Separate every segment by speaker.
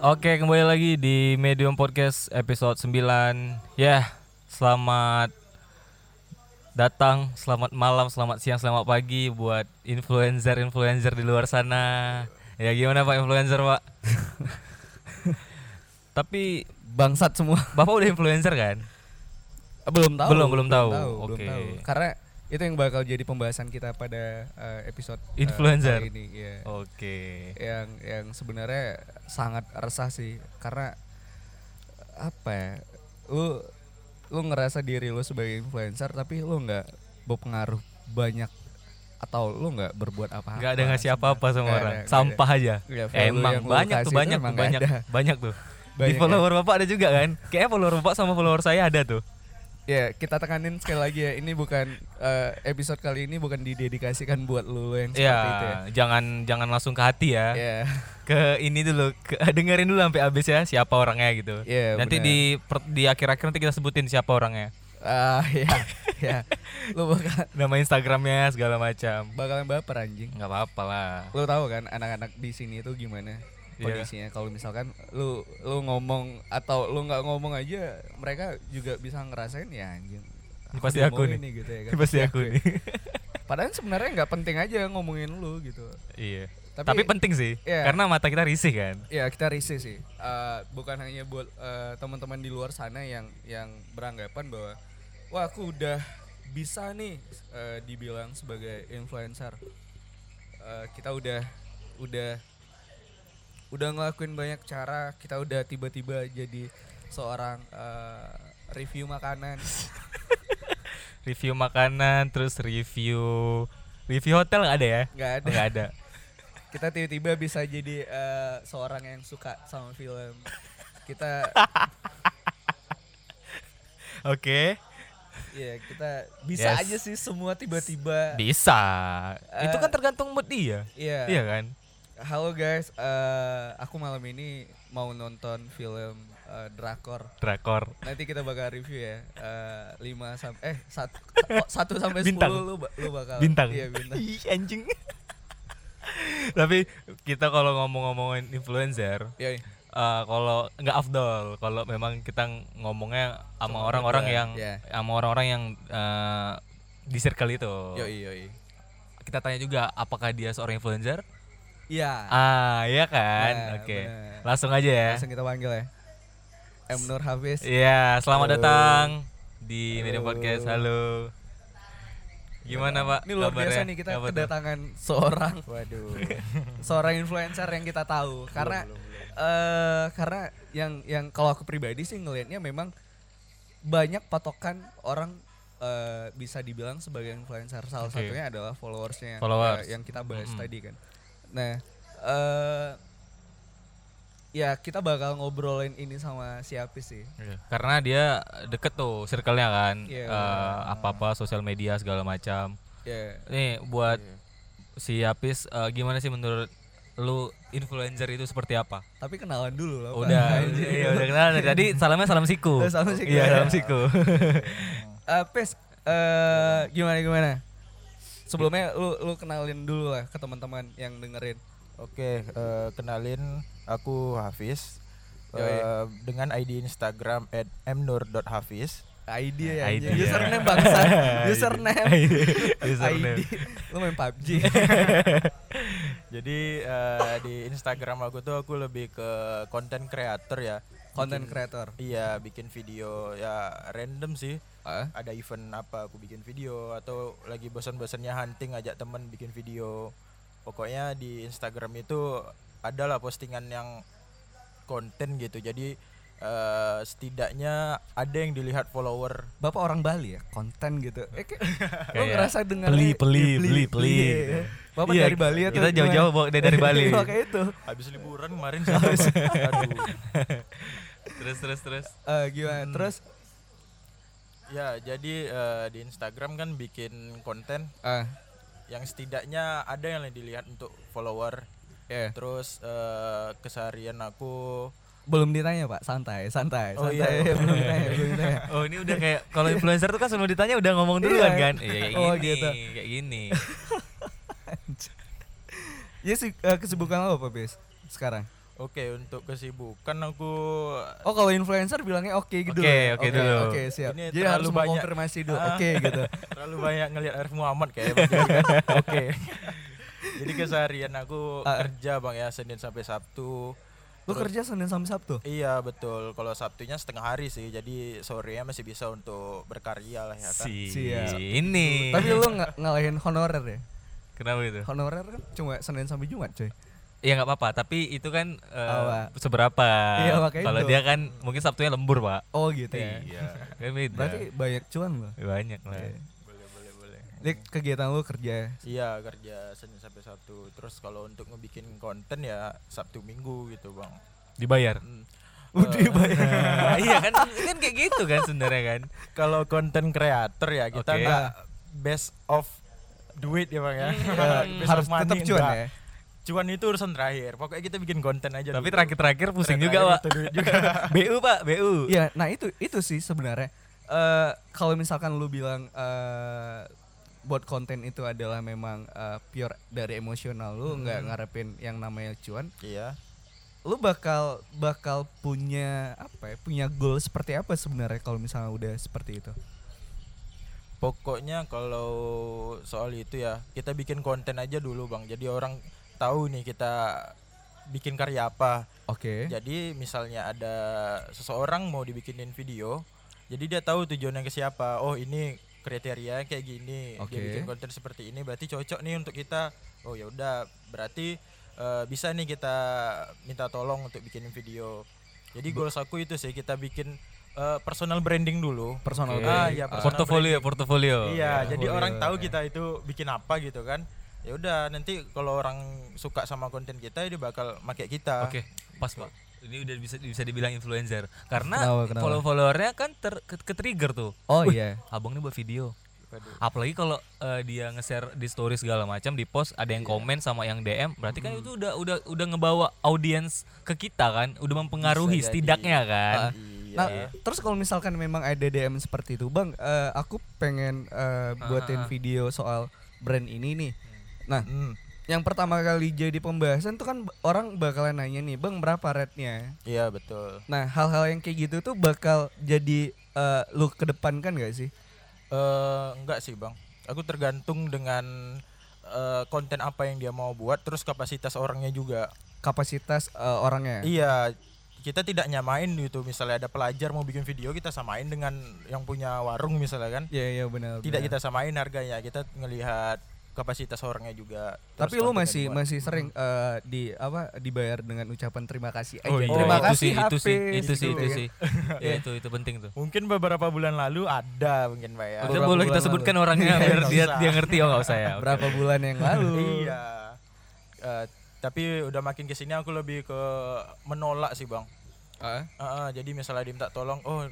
Speaker 1: Oke, kembali lagi di Medium Podcast episode 9. Ya, selamat datang, selamat malam, selamat siang, selamat pagi buat influencer-influencer di luar sana. Ya gimana Pak influencer, Pak? Tapi
Speaker 2: bangsat semua
Speaker 1: Bapak udah influencer kan?
Speaker 2: belum tahu
Speaker 1: Belum, belum tahu.
Speaker 2: belum
Speaker 1: Oke.
Speaker 2: tahu. karena itu yang bakal jadi pembahasan kita pada eh, episode eh,
Speaker 1: Influencer.
Speaker 2: kali ini ya.
Speaker 1: Oke.
Speaker 2: yang yang sebenarnya sangat resah sih karena apa ya, lu lu ngerasa diri lu sebagai influencer tapi lu nggak berpengaruh banyak atau lu nggak berbuat apa-apa
Speaker 1: nggak ada ngasih apa-apa sama
Speaker 2: Nggak ada,
Speaker 1: orang.
Speaker 2: nggak ada.
Speaker 1: Sampah aja. Eh,
Speaker 2: Ya, value yang
Speaker 1: Emang
Speaker 2: lu
Speaker 1: banyak
Speaker 2: kasih
Speaker 1: tuh
Speaker 2: itu
Speaker 1: banyak tuh
Speaker 2: emang nggak
Speaker 1: banyak
Speaker 2: ada.
Speaker 1: banyak tuh.
Speaker 2: Banyak ya.
Speaker 1: di follower Bapak ada juga kan? Kayaknya follower Bapak sama follower saya ada tuh.
Speaker 2: Ya, kita tekanin sekali lagi ya, ini bukan eh, episode kali ini bukan didedikasikan buat lu yang seperti itu ya.
Speaker 1: Ya, jangan jangan langsung ke hati ya.
Speaker 2: Ya,
Speaker 1: Ke ini dulu, ke, dengerin dulu sampai habis ya siapa orangnya gitu.
Speaker 2: Iya,
Speaker 1: nanti
Speaker 2: benar.
Speaker 1: di per- di akhir-akhir nanti kita sebutin siapa orangnya.
Speaker 2: ah ya, ya. Lu bakal
Speaker 1: Nama Instagramnya segala macam.
Speaker 2: bakalan baper anjing.
Speaker 1: nggak apa-apa lah.
Speaker 2: Lu tahu kan anak-anak di sini itu gimana
Speaker 1: Iya.
Speaker 2: kondisinya kalau misalkan lu lu ngomong atau lu nggak ngomong aja mereka juga bisa ngerasain ya anjing.
Speaker 1: Ini pasti aku nih.
Speaker 2: diomongin nih gitu ya kan.
Speaker 1: Ini pasti aku nih.
Speaker 2: Padahal sebenarnya nggak penting aja ngomongin lu gitu.
Speaker 1: iya. Tapi,
Speaker 2: Tapi-
Speaker 1: penting sih,
Speaker 2: Iya.
Speaker 1: karena mata kita risih kan.
Speaker 2: Ya kita risih sih. Eh, bukan hanya buat eh, teman-teman di luar sana yang yang beranggapan bahwa wah aku udah bisa nih eh, dibilang sebagai influencer. Eh, kita udah udah udah ngelakuin banyak cara. Kita udah tiba-tiba jadi seorang eh, review makanan.
Speaker 1: Review makanan, terus review review hotel nggak ada ya?
Speaker 2: Nggak
Speaker 1: Oh,
Speaker 2: ada.
Speaker 1: Nggak ada.
Speaker 2: Kita tiba-tiba bisa jadi eh, seorang yang suka sama film. Kita
Speaker 1: Oke,
Speaker 2: ya kita bisa
Speaker 1: Yes.
Speaker 2: aja sih semua tiba-tiba
Speaker 1: bisa. Itu
Speaker 2: Eh,
Speaker 1: kan tergantung mood dia.
Speaker 2: Iya.
Speaker 1: Iya kan?
Speaker 2: Halo guys, eh, aku malam ini mau nonton film eh, drakor.
Speaker 1: Drakor.
Speaker 2: Nanti kita bakal review ya. Eh, lima sampai eh satu satu sampai
Speaker 1: Bintang.
Speaker 2: sepuluh lu, ba- lu bakal
Speaker 1: bintang.
Speaker 2: Iya bintang.
Speaker 1: Ih, anjing. Tapi kita kalau ngomong-ngomongin influencer,
Speaker 2: Iya. iya.
Speaker 1: eh, kalau nggak afdol kalau memang kita ngomongnya sama orang-orang
Speaker 2: berdua,
Speaker 1: yang
Speaker 2: iya.
Speaker 1: sama orang-orang yang eh, di circle itu.
Speaker 2: Yoi yoi.
Speaker 1: Kita tanya juga apakah dia seorang influencer?
Speaker 2: Iya.
Speaker 1: Ah, iya kan?
Speaker 2: Nah,
Speaker 1: Oke.
Speaker 2: bener.
Speaker 1: Langsung aja ya.
Speaker 2: Langsung kita panggil ya. M Nur Hafiz.
Speaker 1: Iya, selamat
Speaker 2: Halo.
Speaker 1: datang di Media
Speaker 2: Halo.
Speaker 1: Podcast. Halo. Gimana, Pak?
Speaker 2: Ini luar biasa
Speaker 1: kabarnya?
Speaker 2: nih kita
Speaker 1: Apa tuh?
Speaker 2: kedatangan seorang waduh seorang influencer yang kita tahu karena eh karena yang yang kalau aku pribadi sih ngelihatnya memang banyak patokan orang eh, bisa dibilang sebagai influencer salah
Speaker 1: Oke.
Speaker 2: satunya adalah followersnya yang-
Speaker 1: Followers.
Speaker 2: ya, yang kita bahas
Speaker 1: Mm-mm.
Speaker 2: tadi kan nah eh ya kita bakal ngobrolin ini sama si Apis sih
Speaker 1: Iya, Karena dia deket tuh circle-nya kan.
Speaker 2: Iya.
Speaker 1: Eh, apa-apa sosial media segala macam.
Speaker 2: ya
Speaker 1: Nih buat si Apis eh, gimana sih menurut lu influencer itu seperti apa?
Speaker 2: tapi kenalan dulu lah Pak.
Speaker 1: Udah,
Speaker 2: Anjing.
Speaker 1: iya udah kenal dari tadi salamnya salam siku.
Speaker 2: Eh, salam siku.
Speaker 1: Iya, salam siku.
Speaker 2: Eh, Pes, eh, gimana gimana? Sebelumnya lu lu kenalin dulu lah ke teman-teman yang dengerin.
Speaker 3: Oke, eh, kenalin aku Hafiz.
Speaker 2: Yoi.
Speaker 3: Eh, dengan ID Instagram @mnur.hafiz.
Speaker 2: ID ya,
Speaker 1: ID.
Speaker 2: anjing. username bangsa, username,
Speaker 1: Username. Gitu.
Speaker 2: ID. Lu main PUBG.
Speaker 3: Jadi eh, di Instagram aku tuh aku lebih ke konten creator ya.
Speaker 2: Content creator.
Speaker 3: Iya, bikin video ya random sih.
Speaker 2: Heeh.
Speaker 3: Ada event apa aku bikin video atau lagi bosan-bosannya hunting ajak temen bikin video. Pokoknya di Instagram itu adalah postingan yang konten gitu. Jadi eh, setidaknya ada yang dilihat follower
Speaker 2: Bapak orang Bali ya, konten gitu. Eh, kayak, lu
Speaker 1: Kayak
Speaker 2: ngerasa dengar
Speaker 1: peli, peli, peli, peli.
Speaker 2: Bapak
Speaker 1: Iya,
Speaker 2: dari Bali ya
Speaker 1: kita jauh-jauh bawa dia dari Bali.
Speaker 2: Makanya itu.
Speaker 3: Habis liburan kemarin sih. Aduh.
Speaker 1: Terus terus terus.
Speaker 2: Eh, gimana?
Speaker 1: Hmm.
Speaker 2: Terus
Speaker 3: Ya, jadi eh, di Instagram kan bikin konten
Speaker 2: eh
Speaker 3: yang setidaknya ada yang dilihat untuk follower.
Speaker 2: ya.
Speaker 3: Terus eh, keseharian aku
Speaker 2: Belum ditanya, Pak. Santai, santai,
Speaker 3: Oh, iya.
Speaker 2: santai. belum ditanya, belum ditanya.
Speaker 1: Oh, ini udah kayak kalau influencer tuh kan sebelum ditanya udah ngomong duluan
Speaker 2: Iya.
Speaker 1: kan? Iya, kayak
Speaker 2: Oh,
Speaker 1: gini,
Speaker 2: gitu.
Speaker 1: kayak gini.
Speaker 2: Iya Ya sih eh, kesibukan lo apa, Bis? Sekarang.
Speaker 3: Oke, untuk kesibukan aku
Speaker 2: Oh kalau influencer bilangnya oke gitu.
Speaker 1: Oke,
Speaker 2: ya?
Speaker 1: oke dulu.
Speaker 2: Oke siap.
Speaker 3: Ini
Speaker 2: Jadi
Speaker 3: terlalu
Speaker 2: harus
Speaker 3: banyak.
Speaker 2: mengkonfirmasi dulu.
Speaker 3: Ah.
Speaker 2: Oke gitu.
Speaker 3: terlalu banyak ngelihat Arif Muhammad kayaknya. Bang. Jadi kan, Oke. Jadi keseharian aku
Speaker 2: Ah.
Speaker 3: kerja Bang ya Senin sampai Sabtu.
Speaker 2: Lu kerja Senin sampai Sabtu?
Speaker 3: Iya betul. Kalau Sabtunya setengah hari sih. Jadi sorenya masih bisa untuk berkarya lah ya kan.
Speaker 1: Si
Speaker 2: Siap.
Speaker 1: ini.
Speaker 2: Tapi lu nggak ngalahin honorer ya?
Speaker 1: kenapa gitu?
Speaker 2: Honorer kan cuma Senin sampai Jumat coy.
Speaker 1: Ya nggak apa-apa, tapi itu kan eh,
Speaker 2: Apa?
Speaker 1: seberapa.
Speaker 2: Iya, makanya
Speaker 1: Kalau
Speaker 2: itu.
Speaker 1: dia kan mungkin Sabtunya lembur, Pak.
Speaker 2: Oh gitu ya.
Speaker 1: Kan beda.
Speaker 2: Berarti Iya. banyak cuan lo.
Speaker 1: banyak lah. Iya.
Speaker 2: Lik kegiatan lu kerja.
Speaker 3: Iya kerja Senin sampai Sabtu. Terus kalau untuk ngebikin konten ya Sabtu Minggu gitu bang.
Speaker 1: Dibayar.
Speaker 3: Hmm.
Speaker 2: Udah banyak.
Speaker 1: Nah, iya kan kan kayak gitu kan sebenarnya kan.
Speaker 3: Kalau konten kreator ya kita
Speaker 1: Oke.
Speaker 3: nggak best of duit ya bang ya. Best
Speaker 2: Harus
Speaker 3: of money
Speaker 2: tetap cuan
Speaker 3: nggak.
Speaker 2: ya.
Speaker 3: Cuan itu urusan terakhir. Pokoknya kita bikin konten aja.
Speaker 1: Tapi
Speaker 3: dulu.
Speaker 1: terakhir-terakhir pusing
Speaker 3: Terakhir
Speaker 1: juga, Pak.
Speaker 3: itu duit juga.
Speaker 1: BU, Pak, BU.
Speaker 2: Iya, nah itu itu sih sebenarnya. Eh kalau misalkan lu bilang eh buat konten itu adalah memang eh, pure dari emosional lu nggak
Speaker 1: Hmm.
Speaker 2: ngarepin yang namanya cuan,
Speaker 3: Iya.
Speaker 2: lu bakal bakal punya apa ya? Punya goal seperti apa sebenarnya kalau misalnya udah seperti itu?
Speaker 3: Pokoknya kalau soal itu ya kita bikin konten aja dulu bang. Jadi orang tahu nih kita bikin karya apa.
Speaker 2: Oke.
Speaker 3: Jadi misalnya ada seseorang mau dibikinin video, jadi dia tahu tujuannya ke siapa. Oh ini kriteria kayak gini,
Speaker 2: Oke.
Speaker 3: dia bikin konten seperti ini, berarti cocok nih untuk kita. Oh ya udah, berarti eh, bisa nih kita minta tolong untuk bikinin video. Jadi goals aku itu sih kita bikin eh, personal branding dulu.
Speaker 2: Personal
Speaker 1: Oke.
Speaker 3: Ah,
Speaker 2: branding.
Speaker 3: iya, personal
Speaker 1: Portofolio, portofolio.
Speaker 3: Iya,
Speaker 2: ya,
Speaker 3: jadi
Speaker 2: boleh,
Speaker 3: orang tahu
Speaker 2: ya.
Speaker 3: kita itu bikin apa gitu kan. Ya udah nanti kalau orang suka sama konten kita dia bakal make kita.
Speaker 1: Oke, pas, Pak. Ini udah bisa bisa dibilang influencer karena
Speaker 2: Kenapa, kenapa?
Speaker 1: follow-followernya kan ter ke, ke trigger tuh.
Speaker 2: Oh
Speaker 1: Wih,
Speaker 2: iya.
Speaker 1: Abang ini buat video.
Speaker 3: Waduh.
Speaker 1: Apalagi kalau eh, dia nge-share di story segala macam, di post ada yang komen sama yang DM, berarti kan itu udah udah udah ngebawa audiens ke kita kan, udah mempengaruhi
Speaker 3: Bisa jadi.
Speaker 1: setidaknya kan.
Speaker 3: Iya.
Speaker 2: Nah, terus kalau misalkan memang ada DM seperti itu, Bang, eh, aku pengen eh, buatin video soal brand ini nih. Nah,
Speaker 3: Hmm.
Speaker 2: yang pertama kali jadi pembahasan tuh kan b- orang bakalan nanya nih, "Bang, berapa rate-nya?"
Speaker 3: Iya betul.
Speaker 2: Nah, hal-hal yang kayak gitu tuh bakal jadi eh, lu kedepankan gak sih?
Speaker 3: Eh enggak sih bang. Aku tergantung dengan eh, konten apa yang dia mau buat, terus kapasitas orangnya juga.
Speaker 2: Kapasitas eh, orangnya.
Speaker 3: Iya. Kita tidak nyamain gitu. Misalnya ada pelajar mau bikin video, kita samain dengan yang punya warung misalnya kan.
Speaker 2: Iya, iya benar.
Speaker 3: Tidak
Speaker 2: benar.
Speaker 3: kita samain harganya. Kita ngelihat kapasitas orangnya juga. Terus
Speaker 2: Tapi lu
Speaker 3: konten yang
Speaker 2: masih
Speaker 3: dibuat. Hmm.
Speaker 2: masih sering eh, di apa dibayar dengan ucapan terima kasih aja.
Speaker 1: Oh, iya.
Speaker 2: Terima
Speaker 1: itu
Speaker 2: kasih
Speaker 1: sih, itu
Speaker 2: HP,
Speaker 1: sih, itu sih,
Speaker 2: gitu
Speaker 1: itu
Speaker 2: kan.
Speaker 1: sih. Ya, itu itu penting tuh.
Speaker 3: Mungkin beberapa bulan lalu ada mungkin pak ya.
Speaker 1: Itu
Speaker 2: Beberapa
Speaker 1: boleh kita
Speaker 2: bulan
Speaker 1: sebutkan
Speaker 2: lalu.
Speaker 1: orangnya
Speaker 3: Iya,
Speaker 1: biar
Speaker 3: nggak
Speaker 1: dia
Speaker 3: usah.
Speaker 1: dia ngerti oh nggak usah ya. oke.
Speaker 2: Berapa bulan yang lalu?
Speaker 3: iya. Eh, tapi udah makin kesini aku lebih ke menolak sih bang.
Speaker 2: Ah.
Speaker 3: Ah, ah, jadi misalnya diminta tolong, oh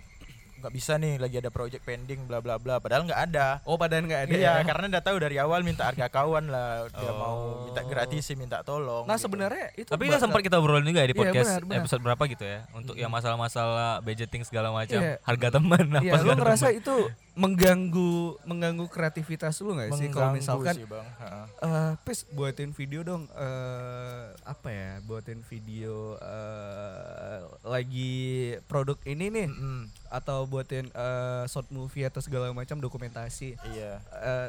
Speaker 3: nggak bisa nih lagi ada project pending bla bla bla. Padahal nggak ada.
Speaker 2: Oh padahal nggak ada
Speaker 3: Iya,
Speaker 2: ya.
Speaker 3: karena udah tahu dari awal minta harga kawan lah. Dia mau minta gratis sih minta tolong.
Speaker 2: Oh. Nah
Speaker 3: gitu.
Speaker 2: sebenarnya itu
Speaker 1: Tapi itu sempat kita obrolin juga ya di
Speaker 2: Iya,
Speaker 1: podcast
Speaker 2: benar, benar.
Speaker 1: episode berapa gitu ya untuk yang masalah-masalah budgeting segala macam,
Speaker 2: Iya.
Speaker 1: harga teman apa
Speaker 2: ya, lu
Speaker 1: segala
Speaker 2: ngerasa itu mengganggu mengganggu kreativitas lu nggak sih kalau
Speaker 3: Mengganggu
Speaker 2: misalkan
Speaker 3: sih, Bang. Ah.
Speaker 2: eh pis buatin video dong eh apa ya buatin video eh lagi produk ini nih
Speaker 3: Mm,
Speaker 2: atau buatin eh short movie atau segala macam dokumentasi
Speaker 3: iya.
Speaker 2: eh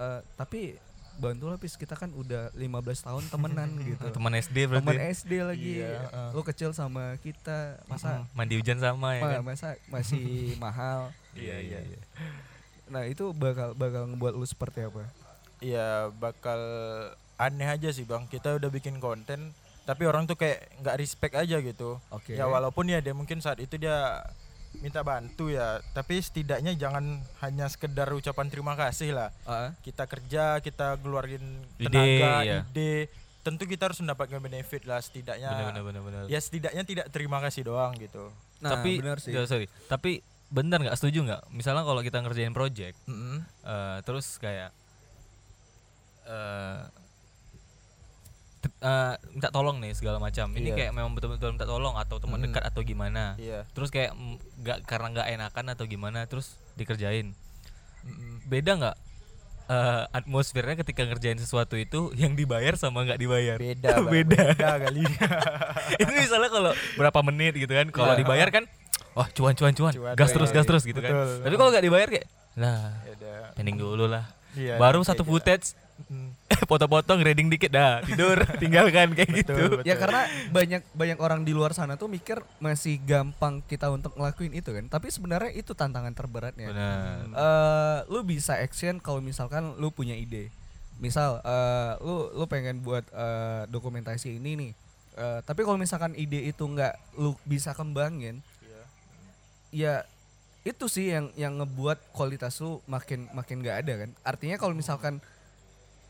Speaker 2: eh, tapi bantu lah pis kita kan udah 15 tahun temenan gitu
Speaker 1: teman. Teman SD berarti. ya?
Speaker 2: teman E. SD lagi Eh,
Speaker 3: Iya, heeh.
Speaker 2: lu kecil sama kita masa
Speaker 1: Hmm, Mandi hujan sama ya.
Speaker 2: Ma-
Speaker 1: kan?
Speaker 2: masa masih mahal.
Speaker 1: Iya, iya, iya.
Speaker 2: Nah, itu bakal bakal ngebuat lu seperti apa?
Speaker 3: Iya, bakal aneh aja sih, Bang. Kita udah bikin konten, tapi orang tuh kayak nggak respect aja gitu.
Speaker 2: Oke.
Speaker 3: Ya walaupun ya dia mungkin saat itu dia minta bantu ya, tapi setidaknya jangan hanya sekedar ucapan terima kasih lah.
Speaker 2: eh,
Speaker 3: kita kerja kita keluarin
Speaker 1: Ide,
Speaker 3: tenaga ide,
Speaker 1: iya.
Speaker 3: tentu kita harus mendapatkan benefit lah
Speaker 2: E.
Speaker 3: setidaknya
Speaker 1: Benar benar benar benar.
Speaker 3: ya setidaknya tidak terima kasih doang gitu
Speaker 2: Nah,
Speaker 1: tapi
Speaker 2: benar sih.
Speaker 1: ya, sorry. Tapi benar nggak setuju nggak? Misalnya kalau kita ngerjain project
Speaker 3: Mm-mm.
Speaker 1: eh, terus kayak eh te- eh, minta tolong nih segala macam. Ini
Speaker 3: Iya.
Speaker 1: kayak memang betul-betul minta tolong atau teman dekat atau gimana.
Speaker 3: iya
Speaker 1: Terus kayak mm, nggak karena nggak enakan atau gimana terus dikerjain.
Speaker 3: Mm-mm.
Speaker 1: Beda nggak eh, atmosfernya ketika ngerjain sesuatu itu yang dibayar sama nggak dibayar
Speaker 3: beda Bang.
Speaker 1: beda
Speaker 3: beda kali
Speaker 1: itu misalnya kalau berapa menit gitu kan kalau
Speaker 3: Iya.
Speaker 1: dibayar kan wah cuan cuan cuan
Speaker 3: Cuan,
Speaker 1: gas
Speaker 3: iya,
Speaker 1: terus gas
Speaker 3: iya.
Speaker 1: terus gitu
Speaker 3: Betul.
Speaker 1: kan tapi kalau nggak dibayar kayak lah
Speaker 3: Beda.
Speaker 1: pending dulu lah
Speaker 3: Iya,
Speaker 1: baru
Speaker 3: kayak
Speaker 1: satu
Speaker 3: gitu.
Speaker 1: footage foto-foto ngrading dikit dah tidur tinggalkan kayak gitu
Speaker 3: Betul,
Speaker 2: Ya karena banyak banyak orang di luar sana tuh mikir masih gampang kita untuk ngelakuin itu kan. Tapi sebenarnya itu tantangan
Speaker 3: Iya.
Speaker 2: terberatnya.
Speaker 1: benar
Speaker 2: Eh, lu bisa action kalau misalkan lu punya ide. Misal eh, lu lu pengen buat eh, dokumentasi ini nih. Eh, tapi kalau misalkan ide itu nggak lu bisa kembangin,
Speaker 1: Iya.
Speaker 2: ya itu sih yang yang ngebuat kualitas lu makin makin nggak ada kan. Artinya
Speaker 1: Oh.
Speaker 2: kalau misalkan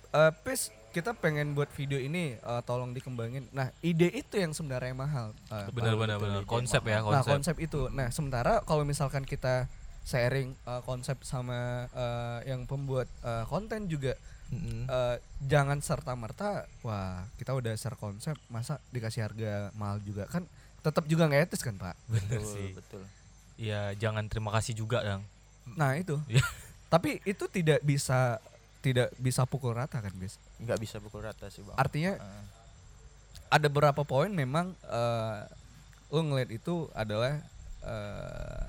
Speaker 2: eh Pis, kita pengen buat video ini eh, tolong dikembangin. Nah, ide itu yang sebenarnya yang mahal. Eh,
Speaker 1: benar benar benar konsep ya
Speaker 2: Nah
Speaker 1: konsep
Speaker 2: konsep itu. Nah sementara kalau misalkan kita sharing uh, konsep sama uh, yang pembuat uh, konten juga
Speaker 3: Mm-mm.
Speaker 2: uh, jangan serta merta wah kita udah share konsep masa dikasih harga mahal juga kan tetap juga nggak etis kan pak.
Speaker 1: benar
Speaker 3: Betul,
Speaker 1: sih
Speaker 3: betul.
Speaker 1: ya jangan terima kasih juga dong
Speaker 2: Nah itu.
Speaker 1: Iya.
Speaker 2: Tapi itu tidak bisa tidak bisa pukul rata kan bis.
Speaker 3: nggak bisa pukul rata sih bang
Speaker 2: Artinya
Speaker 3: Ah.
Speaker 2: ada beberapa poin memang eh lo ngeliat itu adalah eh,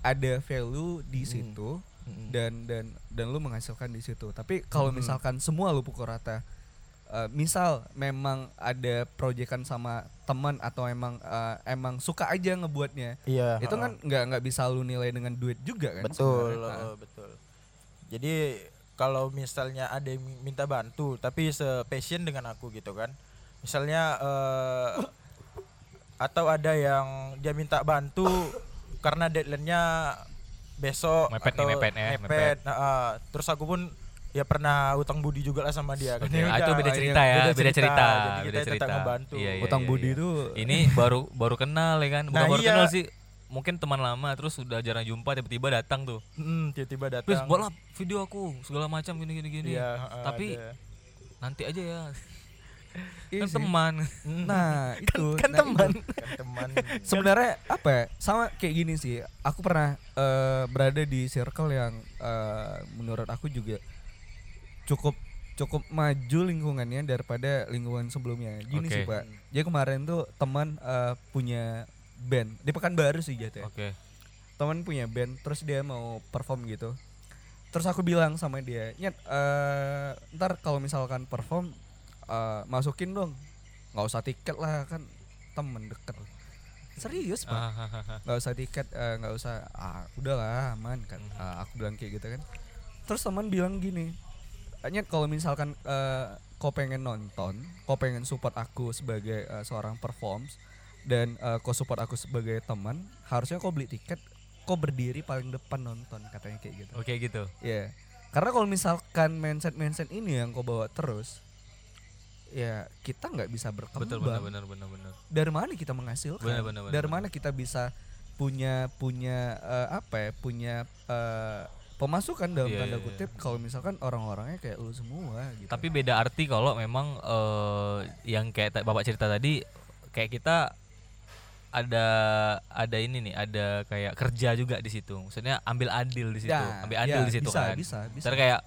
Speaker 2: ada value di
Speaker 3: Hmm.
Speaker 2: situ.
Speaker 3: Mm-mm.
Speaker 2: dan dan dan lu menghasilkan di situ. Tapi
Speaker 1: Hmm.
Speaker 2: kalau misalkan semua lu pukul rata, eh, misal memang ada proyekan sama teman atau emang eh, emang suka aja ngebuatnya,
Speaker 3: iya
Speaker 2: itu
Speaker 3: ha-ha.
Speaker 2: kan nggak nggak bisa lu nilai dengan duit juga kan?
Speaker 3: betul
Speaker 2: sebenarnya.
Speaker 3: eh, betul jadi kalau misalnya ada yang minta bantu tapi sepassion dengan aku gitu kan misalnya eh, atau ada yang dia minta bantu karena deadline-nya besok
Speaker 1: Mepet nih,
Speaker 3: atau
Speaker 1: mepet ya,
Speaker 3: mepet,
Speaker 1: mepet.
Speaker 3: nah, ah. terus aku pun ya pernah utang budi juga lah sama dia kan.
Speaker 1: Oke,
Speaker 3: Ya
Speaker 1: ah, itu
Speaker 3: udah,
Speaker 1: beda
Speaker 3: ah,
Speaker 1: cerita
Speaker 3: iya,
Speaker 1: ya, beda cerita,
Speaker 3: Jadi kita
Speaker 1: beda
Speaker 3: tetap
Speaker 1: cerita.
Speaker 3: ngebantu.
Speaker 1: Iya, iya.
Speaker 2: Utang budi
Speaker 1: iya.
Speaker 2: itu
Speaker 1: ini baru baru kenal ya kan bukan
Speaker 3: Nah,
Speaker 1: baru
Speaker 3: iya.
Speaker 1: kenal sih mungkin teman lama terus udah jarang jumpa tiba-tiba datang tuh
Speaker 3: Mm, tiba-tiba datang.
Speaker 1: Please buatlah video aku segala macam gini gini gini
Speaker 3: Iya, ah,
Speaker 1: tapi
Speaker 3: ada.
Speaker 1: nanti aja ya
Speaker 2: Iya
Speaker 1: kan
Speaker 2: sih.
Speaker 1: teman
Speaker 2: Nah itu
Speaker 1: kan
Speaker 2: nah,
Speaker 1: teman
Speaker 2: itu.
Speaker 3: Kan teman.
Speaker 2: Sebenarnya apa? ya, Sama kayak gini sih. Aku pernah eh, berada di circle yang eh, menurut aku juga cukup cukup maju lingkungannya daripada lingkungan sebelumnya. Gini
Speaker 1: Oke.
Speaker 2: sih pak. Jadi kemarin tuh teman eh, punya band di Pekanbaru sih jatuh.
Speaker 1: oke
Speaker 2: Teman punya band, terus dia mau perform gitu. Terus aku bilang sama dia, nyet eh, ntar kalau misalkan perform eh, masukin dong, nggak usah tiket lah kan temen deket. Serius pak?
Speaker 1: Ah, ah, ah, ah.
Speaker 2: nggak usah tiket eh, nggak usah ah, udahlah aman kan
Speaker 1: Mhm.
Speaker 2: Ah, aku bilang kayak gitu kan terus teman bilang gini hanya kalau misalkan eh, kau pengen nonton kau pengen support aku sebagai eh, seorang performs dan eh, kau support aku sebagai teman harusnya kau beli tiket kau berdiri paling depan nonton katanya kayak gitu
Speaker 1: oke gitu
Speaker 2: ya karena kalau misalkan mindset mindset ini yang kau bawa terus ya kita nggak bisa berkembang
Speaker 1: betul benar benar benar benar
Speaker 2: dari mana kita menghasilkan
Speaker 1: Benar, benar, benar,
Speaker 2: dari
Speaker 1: benar.
Speaker 2: mana kita bisa punya punya eh, apa ya punya eh, pemasukan dalam
Speaker 1: Iya,
Speaker 2: tanda
Speaker 1: iya,
Speaker 2: kutip kalau misalkan orang-orangnya kayak lu semua gitu
Speaker 1: tapi beda arti kalau memang eh, yang kayak ta- bapak cerita tadi kayak kita ada ada ini nih ada kayak kerja juga di situ maksudnya ambil adil di situ
Speaker 2: Ya,
Speaker 1: ambil adil
Speaker 2: ya,
Speaker 1: di situ
Speaker 2: bisa,
Speaker 1: kan
Speaker 2: bisa bisa
Speaker 1: Ntar kayak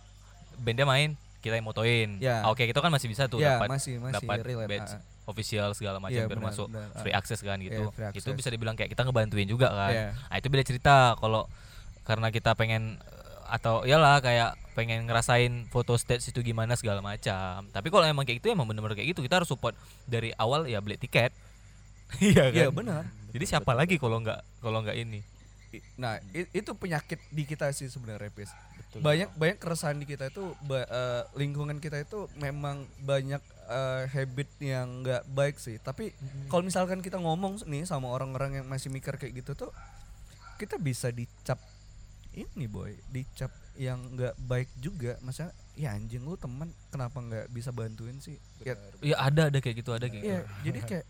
Speaker 1: bandnya main, kita yang motoin.
Speaker 2: Ya.
Speaker 1: Ah, Oke, itu kan masih bisa tuh
Speaker 2: ya
Speaker 1: dapat
Speaker 2: masih masih
Speaker 1: dapat
Speaker 2: relate,
Speaker 1: badge
Speaker 2: ah, ah.
Speaker 1: official segala macam
Speaker 2: Iya,
Speaker 1: biar
Speaker 2: benar,
Speaker 1: masuk
Speaker 2: benar, ah.
Speaker 1: free access kan gitu.
Speaker 2: Iya, free
Speaker 1: itu
Speaker 2: access.
Speaker 1: bisa dibilang kayak kita ngebantuin juga kan.
Speaker 2: Iya.
Speaker 1: Nah, itu beda cerita kalau karena kita pengen eh, atau iyalah kayak pengen ngerasain foto stage itu gimana segala macam. Tapi kalau emang kayak gitu emang bener-bener kayak gitu kita harus support dari awal ya beli tiket. Iya kan?
Speaker 2: Iya, benar
Speaker 1: Jadi siapa lagi kalau nggak kalau nggak ini?
Speaker 2: I- nah i- itu penyakit di kita sih sebenarnya Pis
Speaker 3: Betul.
Speaker 2: banyak banyak keresahan di kita itu ba- eh, lingkungan kita itu memang banyak eh, habit yang nggak baik sih tapi kalau misalkan kita ngomong s- nih sama orang-orang yang masih mikir kayak gitu tuh kita bisa dicap ini boy dicap yang nggak baik juga masa ya anjing lu teman kenapa nggak bisa bantuin sih ya,
Speaker 1: Ya ada ada kayak gitu, ada kayak gitu.
Speaker 2: ya, jadi kayak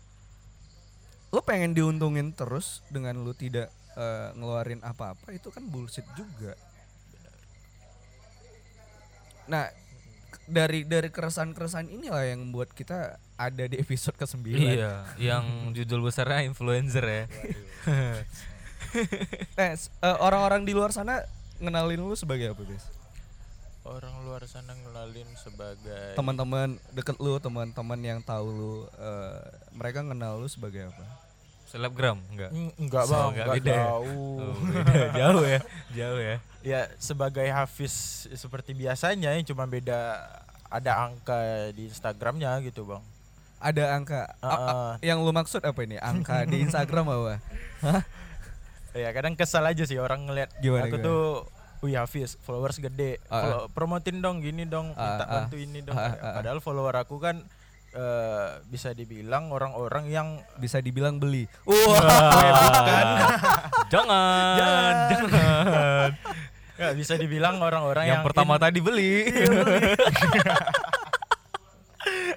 Speaker 2: lu pengen diuntungin terus dengan lu tidak eh, ngeluarin apa-apa itu kan bullshit juga nah dari dari keresahan-keresahan inilah yang membuat kita ada di episode ke
Speaker 1: Iya, yang judul besarnya influencer ya.
Speaker 2: Nah, s- eh, orang-orang di luar sana ngenalin lu sebagai apa, guys?
Speaker 3: orang luar sana ngelalin sebagai
Speaker 2: teman-teman deket lu teman-teman yang tahu lu eh, mereka kenal lu sebagai apa
Speaker 1: Selebgram enggak?
Speaker 3: Mm, enggak
Speaker 1: So,
Speaker 3: bang
Speaker 1: enggak
Speaker 3: enggak,
Speaker 1: beda ya?
Speaker 3: jauh
Speaker 1: Oh, beda. jauh ya, jauh ya.
Speaker 3: ya sebagai Hafiz seperti biasanya yang cuma beda ada angka di Instagramnya gitu bang
Speaker 2: ada angka A- a-
Speaker 3: Heeh.
Speaker 2: yang lu maksud apa ini angka di Instagram apa
Speaker 3: ya kadang kesal aja sih orang ngeliat
Speaker 2: Gimana,
Speaker 3: aku
Speaker 2: gimana?
Speaker 3: tuh Wih Hafiz, followers gede.
Speaker 2: Ah,
Speaker 3: Follow- promotin dong gini dong, minta
Speaker 2: ah,
Speaker 3: bantu ini dong.
Speaker 2: ah, ah,
Speaker 3: Padahal follower aku kan eh, bisa dibilang orang-orang yang
Speaker 2: bisa dibilang beli
Speaker 3: Oh,
Speaker 1: jangan, jangan.
Speaker 3: nggak bisa dibilang orang-orang
Speaker 1: Yang,
Speaker 3: yang,
Speaker 1: pertama
Speaker 3: in-
Speaker 1: tadi beli.
Speaker 2: Iya.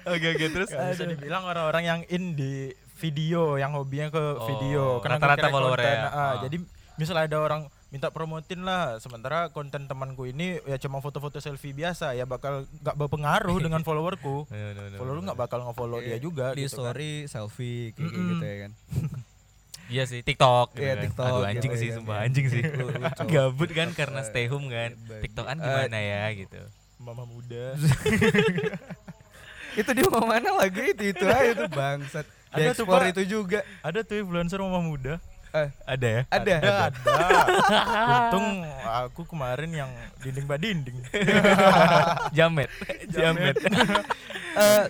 Speaker 1: Oke oke terus.
Speaker 3: nggak bisa dibilang orang-orang yang in di video, yang hobinya ke
Speaker 1: Oh,
Speaker 3: video. Karena
Speaker 1: rata-rata
Speaker 3: nge-create
Speaker 1: follower
Speaker 3: konten,
Speaker 1: ya?
Speaker 3: ah, ah.
Speaker 1: Ah.
Speaker 3: Jadi misalnya ada orang minta promotin lah, sementara konten temanku ini ya cuma foto-foto selfie biasa ya bakal nggak berpengaruh dengan followerku.
Speaker 1: Bener, bener, bener.
Speaker 3: follow lu nggak bakal ngefollow dia
Speaker 2: Iya.
Speaker 3: juga
Speaker 2: di
Speaker 3: gitu kan.
Speaker 2: story selfie kayak kayak gitu ya kan
Speaker 1: Iya sih TikTok. gitu
Speaker 2: Iya,
Speaker 1: kan.
Speaker 2: TikTok
Speaker 1: Aduh
Speaker 2: gitu
Speaker 1: anjing
Speaker 2: ya
Speaker 1: sih,
Speaker 2: kan,
Speaker 1: sumpah
Speaker 2: ya.
Speaker 1: anjing sih.
Speaker 2: Lu- lu cowok.
Speaker 1: Gabut kan karena stay home kan.
Speaker 2: Bagi-
Speaker 1: TikTokan
Speaker 2: Eh,
Speaker 1: gimana ya gitu.
Speaker 3: mama muda
Speaker 2: itu dia mau mana lagi itu itu aja tuh bangsat di
Speaker 3: Ada tuh,
Speaker 2: explore
Speaker 3: Pak.
Speaker 2: itu juga
Speaker 3: ada tuh influencer mama muda
Speaker 2: Eh,
Speaker 1: Ada ya?
Speaker 2: ada
Speaker 3: ada, untung aku kemarin yang dinding ba dinding
Speaker 1: Jamet. Jamet.
Speaker 2: Eh,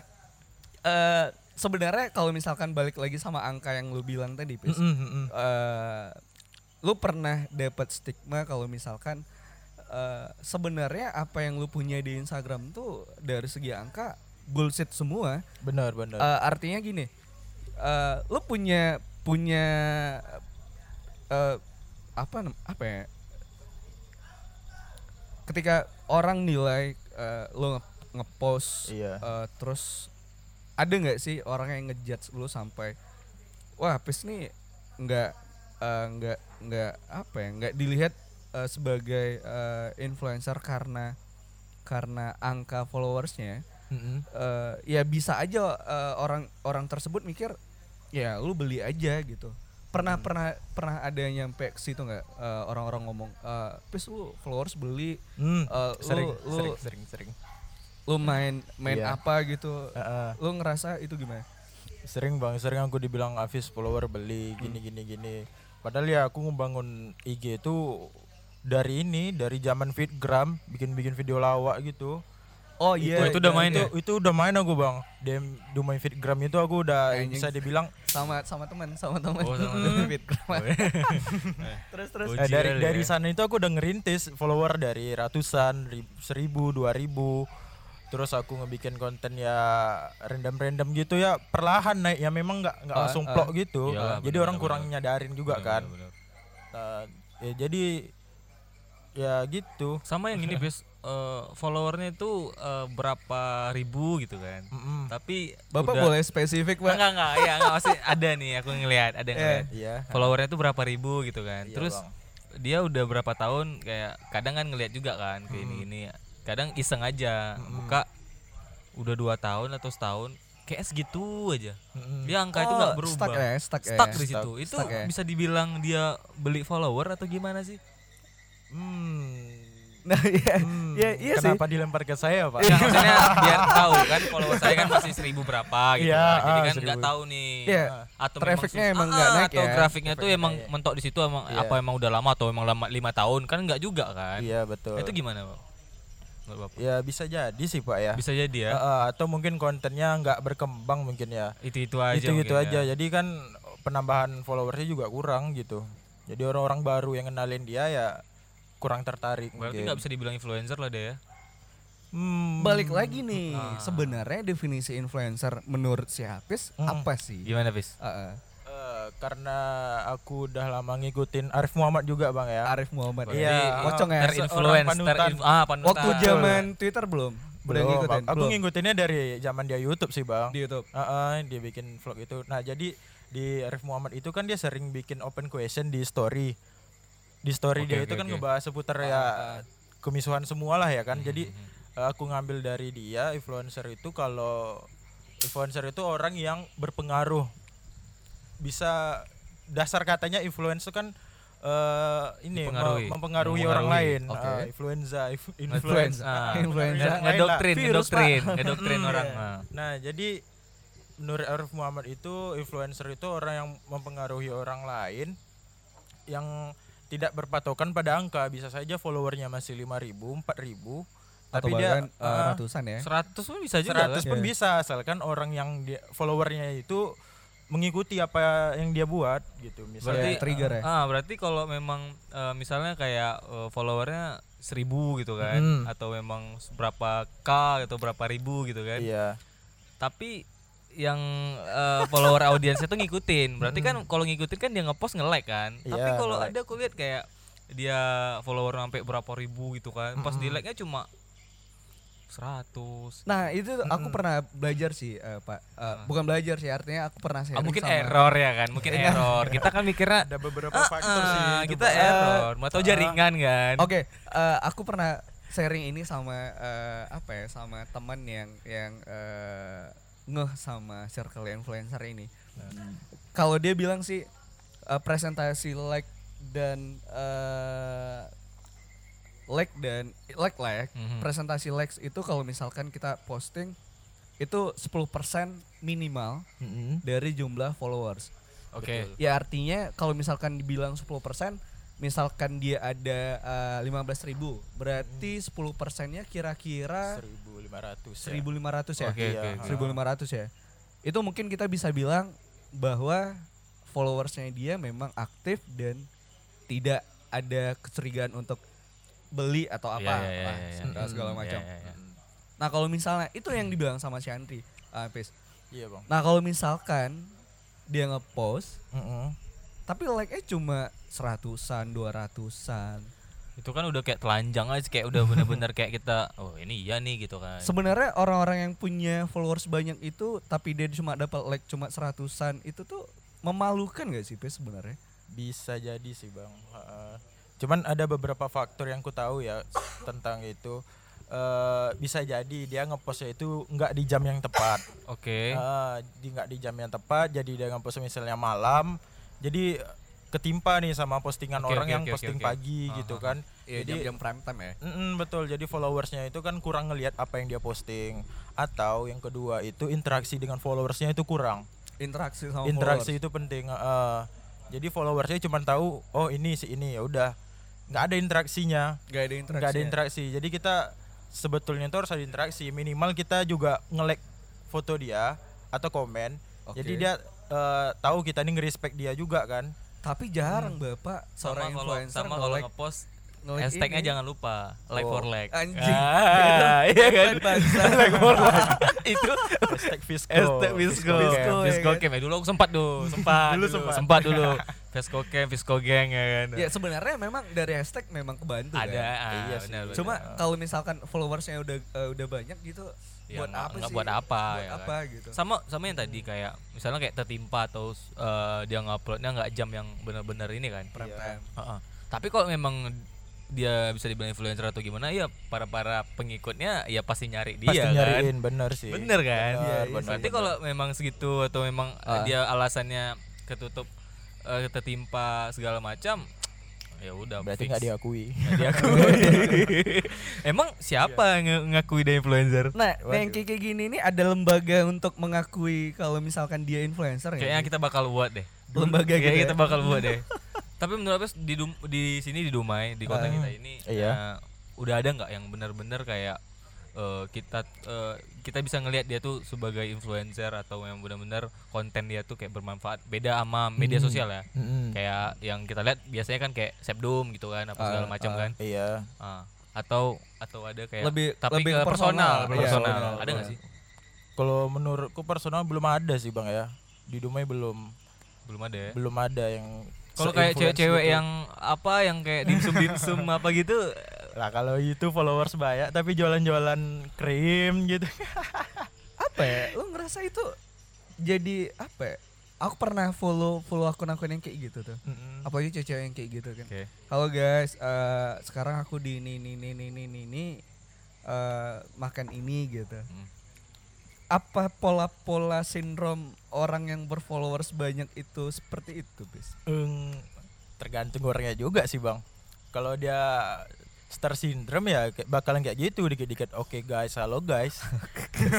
Speaker 2: eh, sebenarnya kalau misalkan balik lagi sama angka yang lu bilang tadi Pis, eh, lu pernah dapat stigma kalau misalkan eh, sebenarnya apa yang lu punya di Instagram tuh dari segi angka bullshit semua.
Speaker 3: benar benar
Speaker 2: Eh, artinya gini, eh, lu punya punya eh, apa nam- apa ya? Ketika orang nilai eh, lu nge- ngepost,
Speaker 3: Iya.
Speaker 2: eh, terus ada nggak sih orang yang ngejudge lu sampai wah pis nih nggak eh, nggak nggak apa ya nggak dilihat eh, sebagai eh, influencer karena karena angka followersnya eh, ya bisa aja eh, orang orang tersebut mikir ya lu beli aja gitu pernah pernah pernah ada yang nyampe ke situ nggak eh, orang-orang ngomong eh pis lu followers beli
Speaker 3: Hmm,
Speaker 2: eh,
Speaker 3: sering,
Speaker 2: lu lu
Speaker 3: sering sering sering
Speaker 2: lu main main
Speaker 3: Iya.
Speaker 2: apa gitu
Speaker 3: Heeh,
Speaker 2: lu ngerasa itu gimana
Speaker 3: sering bang sering aku dibilang Hafiz follower beli gini
Speaker 1: Hmm.
Speaker 3: gini gini padahal ya aku ngebangun IG itu dari ini dari zaman Fitgram bikin bikin video lawak gitu Iya,
Speaker 1: Oh,
Speaker 2: oh
Speaker 1: itu udah main
Speaker 3: itu,
Speaker 1: ya?
Speaker 3: itu udah main aku bang DM di main Fitgram itu aku udah
Speaker 2: Anjing.
Speaker 3: bisa dibilang
Speaker 2: sama sama teman sama teman
Speaker 1: Oh, sama teman.
Speaker 2: terus terus
Speaker 1: Oh,
Speaker 3: Eh, dari
Speaker 1: Ujil
Speaker 3: dari
Speaker 1: ya.
Speaker 3: sana itu aku udah ngerintis follower dari ratusan, ri- seribu, dua ribu. Terus aku ngebikin konten ya random-random gitu ya perlahan naik ya memang nggak nggak langsung plok gitu.
Speaker 1: Ah, Iyalah,
Speaker 3: Eh, jadi
Speaker 1: bener,
Speaker 3: orang kurang nyadarin juga kan.
Speaker 1: Bener.
Speaker 3: Eh, ya jadi ya gitu.
Speaker 1: Sama yang ini bis eh, followernya itu eh, berapa ribu gitu kan.
Speaker 3: Mm-mm.
Speaker 1: Tapi
Speaker 2: bapak
Speaker 1: udah-
Speaker 2: boleh spesifik pak Eh,
Speaker 1: Enggak enggak ya enggak masih ada nih aku ngelihat ada yang ngelihat.
Speaker 3: Iya.
Speaker 1: Followernya tuh berapa ribu gitu kan.
Speaker 3: Iya,
Speaker 1: Terus
Speaker 3: Bang.
Speaker 1: dia udah berapa tahun kayak kadang kan ngelihat juga kan kayak
Speaker 2: Hmm.
Speaker 1: ini ini. Kadang iseng aja buka udah dua tahun atau setahun kayak segitu aja. Dia angka Nah, itu nggak
Speaker 2: Oh,
Speaker 1: berubah.
Speaker 2: stuck ya stuck, ya.
Speaker 1: Stuck di situ. Itu
Speaker 2: stuck ya.
Speaker 1: bisa dibilang dia beli follower atau gimana sih?
Speaker 3: Hmm.
Speaker 2: nah iya
Speaker 3: Hmm,
Speaker 2: iya iya sih Iya.
Speaker 3: Kenapa dilempar ke saya, Pak?
Speaker 1: Ya, maksudnya biar tahu kan follower saya kan masih seribu berapa gitu.
Speaker 3: Iya,
Speaker 1: kan. Jadi
Speaker 3: ah,
Speaker 1: kan nggak
Speaker 3: seribu.
Speaker 1: tahu nih. Ah,
Speaker 2: Iya,
Speaker 1: Atau
Speaker 2: trafficnya
Speaker 1: susah-
Speaker 2: emang nggak
Speaker 1: ah,
Speaker 2: naik
Speaker 1: atau
Speaker 2: ya. Iya.
Speaker 1: grafiknya tuh emang mentok di situ emang apa emang udah lama atau emang lama lima tahun kan nggak juga kan?
Speaker 3: Iya, betul.
Speaker 1: Itu gimana, Pak? Menurut Bapak?
Speaker 3: Ya bisa jadi sih, Pak ya.
Speaker 1: Bisa jadi ya.
Speaker 3: Eh, eh, atau mungkin kontennya nggak berkembang mungkin ya.
Speaker 1: Itu-itu aja.
Speaker 3: itu gitu
Speaker 1: mungkin
Speaker 3: aja
Speaker 1: ya.
Speaker 3: jadi kan penambahan followersnya juga kurang gitu jadi orang-orang baru yang kenalin dia ya kurang tertarik
Speaker 1: Berarti
Speaker 3: mungkin
Speaker 1: nggak bisa dibilang influencer lah deh ya.
Speaker 3: Hmm,
Speaker 2: balik lagi nih
Speaker 1: Hmm. Ah.
Speaker 2: sebenarnya definisi influencer menurut si Hafiz
Speaker 1: Hmm.
Speaker 2: apa sih
Speaker 1: Gimana, Fis?
Speaker 2: Heeh.
Speaker 3: eh, karena aku udah lama ngikutin Arif Muhammad juga bang ya
Speaker 2: Arif Muhammad
Speaker 1: Iya,
Speaker 2: Jadi, pocong ya
Speaker 1: Terinfluence,
Speaker 3: seorang panutan.
Speaker 1: terinf- ah, panutan.
Speaker 2: waktu zaman Twitter belum udah
Speaker 3: Belum,
Speaker 2: ngikutin
Speaker 3: aku
Speaker 2: belum
Speaker 3: ngikutinnya dari zaman dia YouTube sih bang
Speaker 2: di YouTube
Speaker 3: Ah, ah, dia bikin vlog itu nah jadi di Arif Muhammad itu kan dia sering bikin open question di story di story
Speaker 1: Oke,
Speaker 3: dia
Speaker 1: oke,
Speaker 3: itu kan
Speaker 1: oke. Hmm,
Speaker 3: ngebahas seputar ya kemisuhan semua lah ya kan jadi eh, aku ngambil dari dia influencer itu kalau influencer itu orang yang berpengaruh bisa dasar katanya influencer kan eh, ini me-
Speaker 1: Dipengaruhi.
Speaker 3: mempengaruhi
Speaker 1: Mempengaruhi.
Speaker 3: orang lain.
Speaker 2: Oke.
Speaker 3: Ah, influenza, inf- influenza.
Speaker 2: Influenza. Influenza.
Speaker 3: Yang Ah. lain lah.
Speaker 1: ngedoktrin,
Speaker 3: Virus,
Speaker 1: ngedoktrin,
Speaker 3: Pak.
Speaker 1: ngedoktrin
Speaker 3: Hmm,
Speaker 1: orang.
Speaker 3: iya.
Speaker 1: Nah.
Speaker 3: Nah, jadi menurut Arif Muhammad itu influencer itu orang yang mempengaruhi orang lain yang tidak berpatokan pada angka, bisa saja followernya masih 5000, 4000, tapi dia
Speaker 2: bahkan, eh,
Speaker 3: ah,
Speaker 2: ratusan ya.
Speaker 1: 100 pun bisa juga. kan?
Speaker 3: 100 pun bisa asalkan orang yang dia, followernya itu mengikuti apa yang dia buat gitu
Speaker 1: Berarti
Speaker 3: misalnya.
Speaker 2: Kayak trigger ya.
Speaker 1: Ah, berarti kalau memang eh, misalnya kayak eh, followernya seribu gitu kan,
Speaker 3: Mm.
Speaker 1: atau memang berapa k atau berapa ribu gitu kan.
Speaker 3: iya.
Speaker 1: Tapi yang eh, follower audiensnya tuh ngikutin. Berarti
Speaker 2: Hmm.
Speaker 1: kan kalau ngikutin kan dia ngepost nge-like kan. Tapi
Speaker 3: Iya,
Speaker 1: kalau
Speaker 3: nge-like.
Speaker 1: ada aku lihat kayak dia follower sampai berapa ribu gitu kan.
Speaker 2: Hmm.
Speaker 1: Pas di like-nya cuma 100.
Speaker 2: Nah itu aku pernah belajar sih eh, Pak. Eh, Bukan belajar sih artinya aku pernah sharing
Speaker 1: Ah, mungkin
Speaker 2: sama- Iya.
Speaker 1: error ya kan, mungkin error. Kita kan mikirnya
Speaker 3: Ada beberapa
Speaker 1: "Ah,
Speaker 3: faktor sih.
Speaker 1: ah,
Speaker 3: itu,
Speaker 1: kita
Speaker 3: Pak.
Speaker 1: error, mau tahu jaringan kan.
Speaker 2: Ah. Oke, eh, aku pernah sharing ini sama eh, apa ya sama teman yang yang eh, ngeh sama circle influencer ini.
Speaker 1: Hmm.
Speaker 2: Kalau dia bilang sih eh, presentasi like dan eh, like dan like lah ya.
Speaker 1: Mhm.
Speaker 2: Presentasi likes itu kalau misalkan kita posting itu 10% minimal
Speaker 3: Mm-mm.
Speaker 2: dari jumlah followers.
Speaker 1: Oke.
Speaker 2: Ya artinya kalau misalkan dibilang 10% Misalkan dia ada eh, lima 15 ribu
Speaker 1: Hmm.
Speaker 2: Berarti 10 persennya kira-kira
Speaker 3: 1500 ya.
Speaker 2: 1500 ya
Speaker 1: Oke, oke, oke.
Speaker 2: 1500 ya Itu mungkin kita bisa bilang bahwa followersnya dia memang aktif dan tidak ada kecurigaan untuk beli atau
Speaker 1: Iya,
Speaker 2: apa,
Speaker 1: iya, iya,
Speaker 2: lah,
Speaker 1: iya, iya.
Speaker 2: segala- segala
Speaker 1: Iya,
Speaker 2: macam.
Speaker 1: iya, iya.
Speaker 2: Nah kalau misalnya itu
Speaker 1: Hmm.
Speaker 2: yang dibilang sama si Andri, ah, Pis.
Speaker 3: Iya, Bang.
Speaker 2: Nah kalau misalkan dia ngepost
Speaker 3: Mm-mm.
Speaker 2: tapi like-nya cuma seratusan, dua ratusan.
Speaker 1: Itu kan udah kayak telanjang aja kayak udah bener-bener kayak kita oh ini iya nih gitu kan.
Speaker 2: Sebenarnya orang-orang yang punya followers banyak itu, tapi dia cuma dapat like cuma seratusan, itu tuh memalukan gak sih, Pes sebenarnya?
Speaker 3: Bisa jadi sih, Bang. Heeh. Cuman ada beberapa faktor yang ku tahu ya tentang itu. Eh, bisa jadi dia ngepostnya itu nggak di jam yang tepat.
Speaker 1: Oke.
Speaker 3: Ah, di nggak di jam yang tepat jadi dia ngapus misalnya malam jadi ketimpa nih sama postingan
Speaker 1: Oke,
Speaker 3: orang
Speaker 1: oke,
Speaker 3: yang
Speaker 1: oke, oke,
Speaker 3: posting
Speaker 1: oke. Iya,
Speaker 3: pagi gitu kan jadi
Speaker 2: prime time ya.
Speaker 3: Mm-mm, betul jadi followersnya itu kan kurang ngelihat apa yang dia posting atau yang kedua itu interaksi dengan followersnya itu kurang
Speaker 2: Interaksi sama
Speaker 3: interaksi
Speaker 2: followers.
Speaker 3: itu penting ah. jadi followersnya cuma tahu oh ini si ini ya udah nggak ada interaksinya
Speaker 2: Gak ada interaksi. ya?
Speaker 3: nggak ada interaksi jadi kita sebetulnya itu harus ada interaksi minimal kita juga nge-like foto dia atau komen
Speaker 2: Oke.
Speaker 3: jadi dia eh, tahu kita nih nge-respect dia juga kan
Speaker 2: Tapi jarang Bapak
Speaker 1: Sama
Speaker 2: seorang
Speaker 1: kalau
Speaker 2: influencer
Speaker 1: sama kalau
Speaker 2: nge-like-
Speaker 1: ngepost
Speaker 2: nge-like
Speaker 1: hashtagnya
Speaker 2: Oh, ini.
Speaker 1: jangan lupa like
Speaker 3: Oh.
Speaker 1: for like.
Speaker 2: Anjing.
Speaker 1: Ah, iya kan? like for like. Itu
Speaker 3: hashtag fisco
Speaker 1: hashtag Visco.
Speaker 3: Fisco
Speaker 1: Visco,
Speaker 3: Camp.
Speaker 1: Visco Camp. Ya, dulu aku sempat tuh, sempat.
Speaker 3: Dulu
Speaker 1: dulu
Speaker 3: sempat.
Speaker 1: sempat. dulu. Visco Camp, Visco Gang ya kan.
Speaker 2: Ya sebenarnya memang dari hashtag memang kebantu kan?
Speaker 1: Ada. ah,
Speaker 3: Iya sih.
Speaker 1: benar, benar.
Speaker 2: Cuma kalau misalkan followersnya udah eh, udah banyak gitu,
Speaker 1: Ya,
Speaker 2: buat
Speaker 1: nggak-
Speaker 2: apa
Speaker 1: nggak
Speaker 2: sih?
Speaker 1: buat apa,
Speaker 2: Buat
Speaker 1: ya kan?
Speaker 2: apa gitu?
Speaker 1: sama sama yang tadi kayak misalnya kayak tertimpa atau eh, dia nguploadnya nggak jam yang benar-benar ini kan
Speaker 2: Prime time.
Speaker 1: Heeh. Tapi kalau memang dia bisa dibilang influencer atau gimana ya para para pengikutnya ya pasti nyari dia
Speaker 3: pasti
Speaker 1: kan.
Speaker 3: nyariin bener sih
Speaker 1: Bener kan?
Speaker 3: Bener,
Speaker 2: Iya, iya,
Speaker 3: bener,
Speaker 1: Berarti
Speaker 3: bener. Ah.
Speaker 1: kalau memang segitu atau memang eh, dia alasannya ketutup eh, tertimpa segala macam ya udah
Speaker 3: berarti
Speaker 1: fix. Iya
Speaker 3: nggak diakui
Speaker 1: Nggak diakui. Emang siapa yang nge- ngakui dia influencer?
Speaker 2: Nah, nah yang kayak kayak gini nih ada lembaga untuk mengakui kalau misalkan dia influencer
Speaker 1: Kayaknya
Speaker 2: ya.
Speaker 1: kita bakal buat deh.
Speaker 2: Lembaga
Speaker 1: Kayaknya
Speaker 2: gitu ya.
Speaker 1: kita bakal buat deh. Tapi menurut aku di Dum- di sini di Dumai di kota kita ini
Speaker 3: Iya.
Speaker 1: eh, udah ada nggak yang benar-benar kayak eh, kita eh, kita bisa ngelihat dia tuh sebagai influencer atau yang benar-benar konten dia tuh kayak bermanfaat. Beda sama
Speaker 2: Hmm.
Speaker 1: media sosial ya.
Speaker 3: Mm-mm.
Speaker 1: Kayak yang kita lihat biasanya kan kayak Sepdom gitu kan apa segala macam kan.
Speaker 3: iya
Speaker 1: Ah, atau atau ada kayak
Speaker 2: ah. Lebih-
Speaker 1: tapi
Speaker 2: lebih
Speaker 1: ke
Speaker 2: ke personal,
Speaker 1: personal,
Speaker 2: iya,
Speaker 1: personal.
Speaker 2: personal,
Speaker 1: Ada nggak
Speaker 2: iya.
Speaker 1: sih?
Speaker 3: kalau menurutku personal belum ada sih bang ya di Dumai belum
Speaker 1: Belum ada ya.
Speaker 3: belum ada yang
Speaker 1: Kalau kayak
Speaker 3: se-influence
Speaker 1: cewek-cewek ya,
Speaker 3: gitu.
Speaker 1: yang apa yang kayak dimsum dimsum apa gitu,
Speaker 3: lah kalau itu followers banyak tapi jualan-jualan krim gitu
Speaker 2: Apa ya? Lu ngerasa itu jadi apa ya? Aku pernah follow follow akun-akun yang kayak gitu tuh.
Speaker 3: Mm-mm.
Speaker 2: Apalagi cewek-cewek yang kayak gitu kan.
Speaker 1: Hmm. Oke.
Speaker 2: Halo guys, eh, sekarang aku di ini ini ini ini ini, ini eh, makan ini gitu.
Speaker 1: Hmm.
Speaker 2: Apa pola-pola sindrom orang yang berfollowers banyak itu seperti itu, Bis?
Speaker 3: Eng, tergantung orangnya juga sih bang kalau dia star syndrome ya kayak- bakalan kayak gitu dikit-dikit oke guys halo guys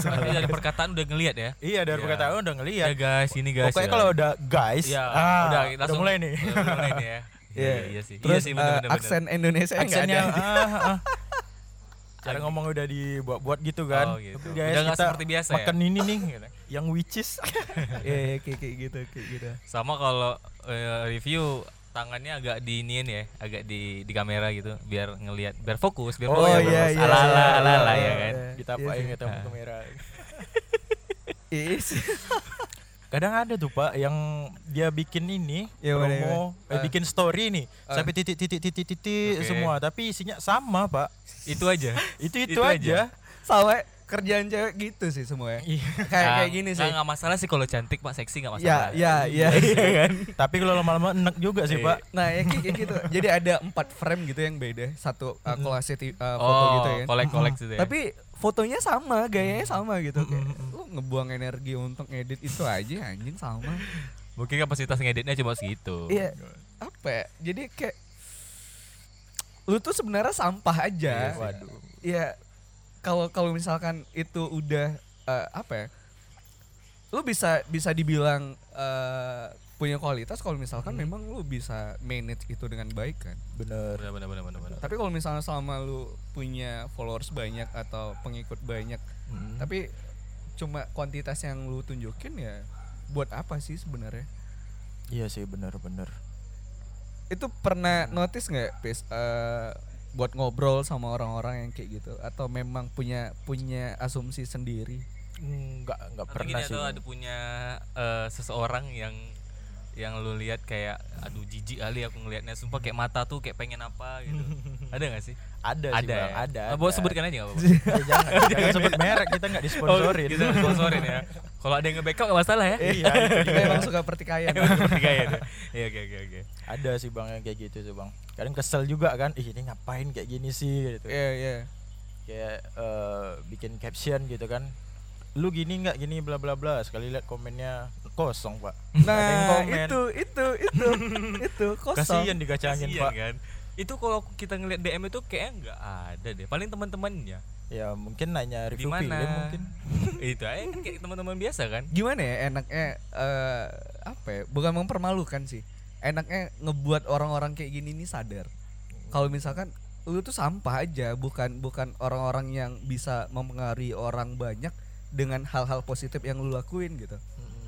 Speaker 4: Tapi dari perkataan udah ngelihat ya.
Speaker 3: iya dari
Speaker 2: Iya.
Speaker 3: perkataan udah ngeliat
Speaker 1: Ya guys, ini guys.
Speaker 3: pokoknya
Speaker 1: ya.
Speaker 3: kalau udah guys
Speaker 4: Iya,
Speaker 3: ah,
Speaker 4: udah,
Speaker 3: udah,
Speaker 4: langsung-
Speaker 3: mulai nih
Speaker 4: Udah mulai nih ya.
Speaker 1: Iya,
Speaker 2: Iya.
Speaker 1: iya sih.
Speaker 2: Terus
Speaker 1: iya sih
Speaker 2: eh,
Speaker 1: bener-bener.
Speaker 2: aksen Indonesia nggak
Speaker 3: aksennya
Speaker 2: ada.
Speaker 3: ah, ah. cara ngomong udah dibuat-buat gitu
Speaker 1: Oh,
Speaker 3: kan
Speaker 1: gitu.
Speaker 3: Oke,
Speaker 4: Udah nggak seperti biasa ya?
Speaker 3: makan ini nih gitu. yang which is
Speaker 2: Iya, iya, kayak kayak gitu, kayak gitu.
Speaker 1: Sama kalau eh, review tangannya agak diinin ya, agak di di kamera gitu biar ngelihat biar fokus, biar
Speaker 2: Oh,
Speaker 1: fokus.
Speaker 2: iya, iya,
Speaker 1: Alala
Speaker 2: iya,
Speaker 1: alala
Speaker 2: iya,
Speaker 1: ya kan.
Speaker 2: iya.
Speaker 3: ditapain
Speaker 2: sih.
Speaker 3: gitu sama kamera
Speaker 2: Iya sih.
Speaker 3: kadang ada tuh pak yang dia bikin ini
Speaker 2: Ya,
Speaker 3: promo
Speaker 2: boleh, boleh.
Speaker 3: eh,
Speaker 2: Ah.
Speaker 3: bikin story nih
Speaker 2: Ah.
Speaker 3: sampai titik titik titik titik titik
Speaker 1: Oke.
Speaker 3: semua tapi isinya sama pak
Speaker 1: Itu aja.
Speaker 3: itu itu,
Speaker 1: Itu aja.
Speaker 3: aja,
Speaker 2: Sawe kerjaan cewek gitu sih semua. ya.
Speaker 3: Iya.
Speaker 2: Kayak
Speaker 1: Nah,
Speaker 2: kayak gini
Speaker 1: nah,
Speaker 2: sih.
Speaker 1: nggak masalah sih kalau cantik Pak, seksi nggak masalah.
Speaker 2: Ya, ya, ya.
Speaker 3: tapi kalau lama-lama enak juga sih
Speaker 1: Iya.
Speaker 3: pak
Speaker 2: Nah, ya kayak kayak gitu. Jadi ada empat frame gitu yang beda, satu uh, kolase ti- uh, foto
Speaker 1: Oh,
Speaker 2: gitu ya. kan.
Speaker 1: kolek-kolek gitu ya.
Speaker 2: Tapi fotonya sama, gayanya sama gitu. Kayak,
Speaker 3: Mm, mm,
Speaker 2: lu ngebuang energi untuk edit itu aja anjing sama.
Speaker 1: mungkin kapasitas ngeditnya cuma segitu.
Speaker 2: Iya. Apa ya? Jadi kayak lu tuh sebenarnya sampah aja.
Speaker 3: waduh
Speaker 2: Iya. Kalau kalau misalkan itu udah eh, apa ya? Lu bisa bisa dibilang eh, punya kualitas kalau misalkan memang lu bisa manage itu dengan baik kan.
Speaker 3: bener
Speaker 1: Benar benar benar benar benar.
Speaker 2: Tapi kalau misalnya selama lu punya followers banyak atau pengikut banyak,
Speaker 3: Mm.
Speaker 2: tapi cuma kuantitas yang lu tunjukin ya buat apa sih sebenarnya?
Speaker 3: iya sih bener-bener
Speaker 2: Itu pernah notice nggak, Pis? Eh, buat ngobrol sama orang-orang yang kayak gitu atau memang punya punya asumsi sendiri?
Speaker 3: nggak nggak
Speaker 1: Atau
Speaker 3: pernah
Speaker 1: gini,
Speaker 3: sih
Speaker 1: atau
Speaker 3: Bang.
Speaker 1: ada punya eh, seseorang yang yang lu lihat kayak aduh jijik kali aku ngelihatnya sumpah kayak mata tuh kayak pengen apa gitu ada nggak sih
Speaker 3: ada Iya sih
Speaker 1: ada
Speaker 3: Bang,
Speaker 1: ya?
Speaker 3: ada
Speaker 1: Ah, boleh Oh,
Speaker 3: ada.
Speaker 1: sebutkan aja nggak apa-apa
Speaker 3: Ya, jangan jangan sebut merek kita nggak disponsorin
Speaker 1: kita nggak sponsorin ya kalau ada yang nge-backup nggak masalah ya
Speaker 3: iya
Speaker 2: Memang suka pertikaian.
Speaker 1: Bertiga ya dia. iya oke oke oke
Speaker 3: ada sih bang yang kayak gitu sih bang kadang kesel juga kan ih ini ngapain kayak gini sih gitu
Speaker 2: Iya, iya.
Speaker 3: kayak eh, bikin caption gitu kan lu gini nggak gini bla bla bla sekali lihat komennya kosong pak Nggak ada yang
Speaker 2: Nah,
Speaker 3: komen.
Speaker 2: itu itu itu itu kosong.
Speaker 3: kasihan digacangin
Speaker 1: Kasian
Speaker 3: pak
Speaker 1: kan itu kalau kita ngelihat DM itu kayaknya nggak ada deh paling teman-temannya
Speaker 3: ya mungkin nanya
Speaker 1: di
Speaker 3: review
Speaker 1: mana
Speaker 3: film ya mungkin
Speaker 1: itu aja kan kayak teman-teman biasa kan
Speaker 2: Gimana ya enaknya eh, apa ya? Bukan mempermalukan sih. Enaknya ngebuat orang-orang kayak gini nih sadar. Kalau misalkan lu tuh sampah aja, bukan bukan orang-orang yang bisa mempengaruhi orang banyak dengan hal-hal positif yang lu lakuin gitu.
Speaker 3: Hmm,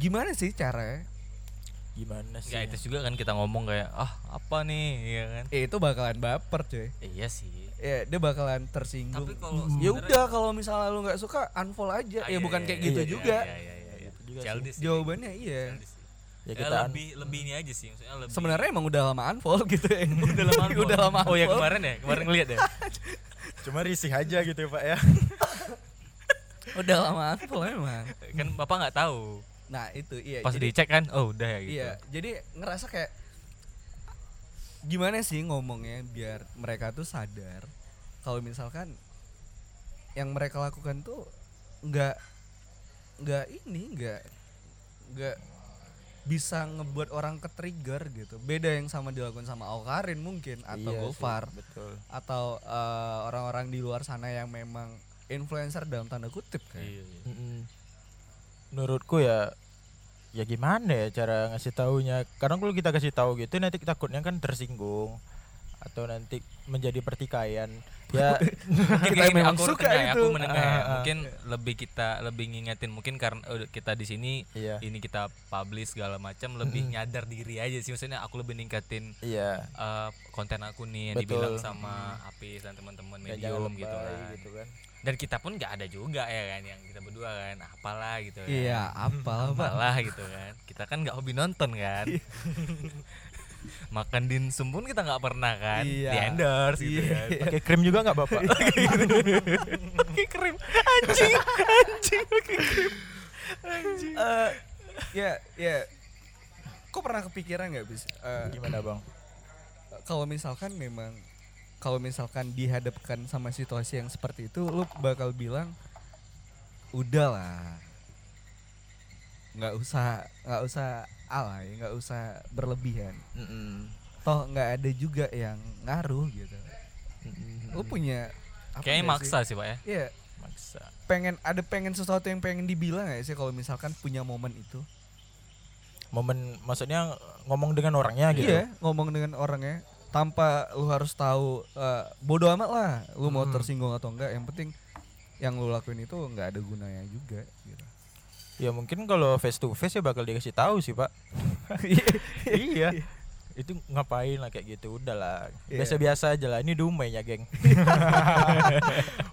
Speaker 2: Gimana sih caranya?
Speaker 3: gimana sih
Speaker 1: nggak etis juga kan kita ngomong kayak ah apa nih ya kan
Speaker 2: Eh, itu bakalan baper, cuy.
Speaker 1: Eh, iya sih
Speaker 2: Ya, dia bakalan tersinggung.
Speaker 1: tapi kalau sebenarnya-
Speaker 2: ya udah kalau misalnya lu nggak suka unfollow
Speaker 1: Ah,
Speaker 2: aja. ya
Speaker 1: iya, iya,
Speaker 2: bukan kayak
Speaker 1: iya,
Speaker 2: gitu
Speaker 1: iya,
Speaker 2: juga.
Speaker 1: iya, iya, iya, iya.
Speaker 3: Gitu juga sih.
Speaker 1: Childish sih.
Speaker 2: Jawabannya iya.
Speaker 1: Childish sih.
Speaker 3: ya
Speaker 1: Ya,
Speaker 3: kita
Speaker 1: lebih lebih ini aja sih maksudnya lebih
Speaker 2: Sebenarnya emang udah lama unfollow gitu ya.
Speaker 1: udah lama
Speaker 2: udah lama
Speaker 1: oh ya
Speaker 2: unfollow.
Speaker 1: kemarin ya kemarin ngeliat ya
Speaker 3: cuma risih aja gitu ya pak ya
Speaker 2: udah lama unfollow emang.
Speaker 1: kan bapak nggak tahu
Speaker 2: Nah, itu iya.
Speaker 1: pas
Speaker 2: jadi,
Speaker 1: dicek kan oh udah ya gitu
Speaker 2: Iya, jadi ngerasa kayak gimana sih ngomongnya biar mereka tuh sadar kalau misalkan yang mereka lakukan tuh nggak nggak ini nggak nggak bisa ngebuat orang ke trigger gitu beda yang sama dilakukan sama Aukarin mungkin atau
Speaker 3: Iya sih,
Speaker 2: Gofar
Speaker 3: betul
Speaker 2: atau eh, orang-orang di luar sana yang memang influencer dalam tanda kutip kan
Speaker 1: Iya, iya.
Speaker 3: Mm-mm. menurutku ya ya gimana ya cara ngasih taunya karena kalau kita kasih tahu gitu nanti takutnya kan tersinggung atau nanti menjadi pertikaian ya
Speaker 1: mungkin
Speaker 2: Kita
Speaker 1: kayak gini,
Speaker 2: memang
Speaker 1: aku
Speaker 2: suka
Speaker 1: menengah ya, aku
Speaker 2: itu. iya.
Speaker 1: menengah ya.
Speaker 3: Ah, ah.
Speaker 1: mungkin lebih kita lebih ngingetin mungkin karena eh, kita di sini
Speaker 3: iya
Speaker 1: ini kita publish segala macam lebih nyadar diri aja sih maksudnya aku lebih ningkatin
Speaker 3: iya
Speaker 1: eh, konten aku nih yang
Speaker 3: Betul.
Speaker 1: dibilang sama Apis dan teman-teman
Speaker 3: Ya, jangan
Speaker 1: medium gitu
Speaker 3: lebay
Speaker 1: kan.
Speaker 3: gitu kan
Speaker 1: Dan kita pun nggak ada juga ya kan yang kita berdua kan apalah gitu kan.
Speaker 2: iya apa Iya. apa
Speaker 1: malah gitu kan kita kan nggak hobi nonton kan makan dinsum pun kita nggak pernah kan
Speaker 2: Iya.
Speaker 1: di endorse gitu
Speaker 2: Iya.
Speaker 1: kan
Speaker 3: pakai krim juga nggak bapak
Speaker 1: pakai krim anjing anjing pakai krim
Speaker 2: Eh, ya ya kok pernah kepikiran nggak bis Eh,
Speaker 3: gimana bang
Speaker 2: kalau misalkan memang kalau misalkan dihadapkan sama situasi yang seperti itu lu bakal bilang udahlah nggak usah nggak usah alay nggak usah berlebihan
Speaker 3: Mm-mm.
Speaker 2: toh nggak ada juga yang ngaruh gitu
Speaker 3: Mm-mm.
Speaker 2: lu punya apa
Speaker 1: Kayaknya
Speaker 2: nggak
Speaker 1: maksa sih, Pak ya.
Speaker 2: sih? Iya,
Speaker 3: maksa
Speaker 2: pengen ada pengen sesuatu yang pengen dibilang gak sih kalau misalkan punya momen itu
Speaker 3: momen maksudnya ngomong dengan orangnya gitu
Speaker 2: Iya, ngomong dengan orangnya tanpa lu harus tahu eh, bodo amat lah, lu mau tersinggung atau enggak. Yang penting yang lu lakuin itu nggak ada gunanya juga. Gitu.
Speaker 3: ya mungkin kalau face to face ya bakal dikasih tahu sih pak iya itu ngapain lah kayak gitu udahlah
Speaker 2: Iya.
Speaker 3: biasa-biasa aja lah ini dumai ya geng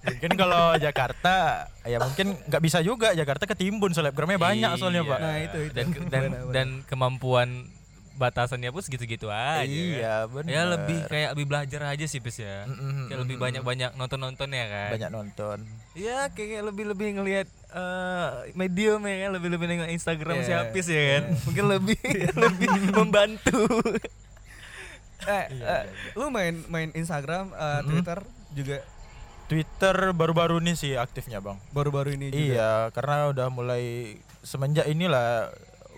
Speaker 3: mungkin kalau Jakarta ya mungkin nggak bisa juga Jakarta ketimbun selebgramnya banyak soalnya
Speaker 1: Iya.
Speaker 3: pak
Speaker 2: Nah, itu- itu.
Speaker 1: Dan ke- dan,
Speaker 2: Benar-benar.
Speaker 1: dan kemampuan batasannya pun segitu-gitu aja.
Speaker 3: iya benar
Speaker 1: Ya lebih kayak lebih belajar aja sih, Pis ya.
Speaker 3: Mm-mm.
Speaker 1: Kayak lebih banyak-banyak nonton-nonton ya kan.
Speaker 3: banyak nonton
Speaker 1: Ya kayak lebih-lebih ngelihat eh, medium ya kan, lebih-lebih nengok Instagram
Speaker 2: Iya.
Speaker 1: siapa sih ya kan. Mungkin lebih lebih membantu.
Speaker 2: Eh, eh, lu main main Instagram, eh, Twitter juga
Speaker 3: Twitter baru-baru ini sih aktifnya bang
Speaker 2: baru-baru ini
Speaker 1: Gitu
Speaker 2: juga.
Speaker 1: ya?
Speaker 3: Iya, karena udah mulai semenjak inilah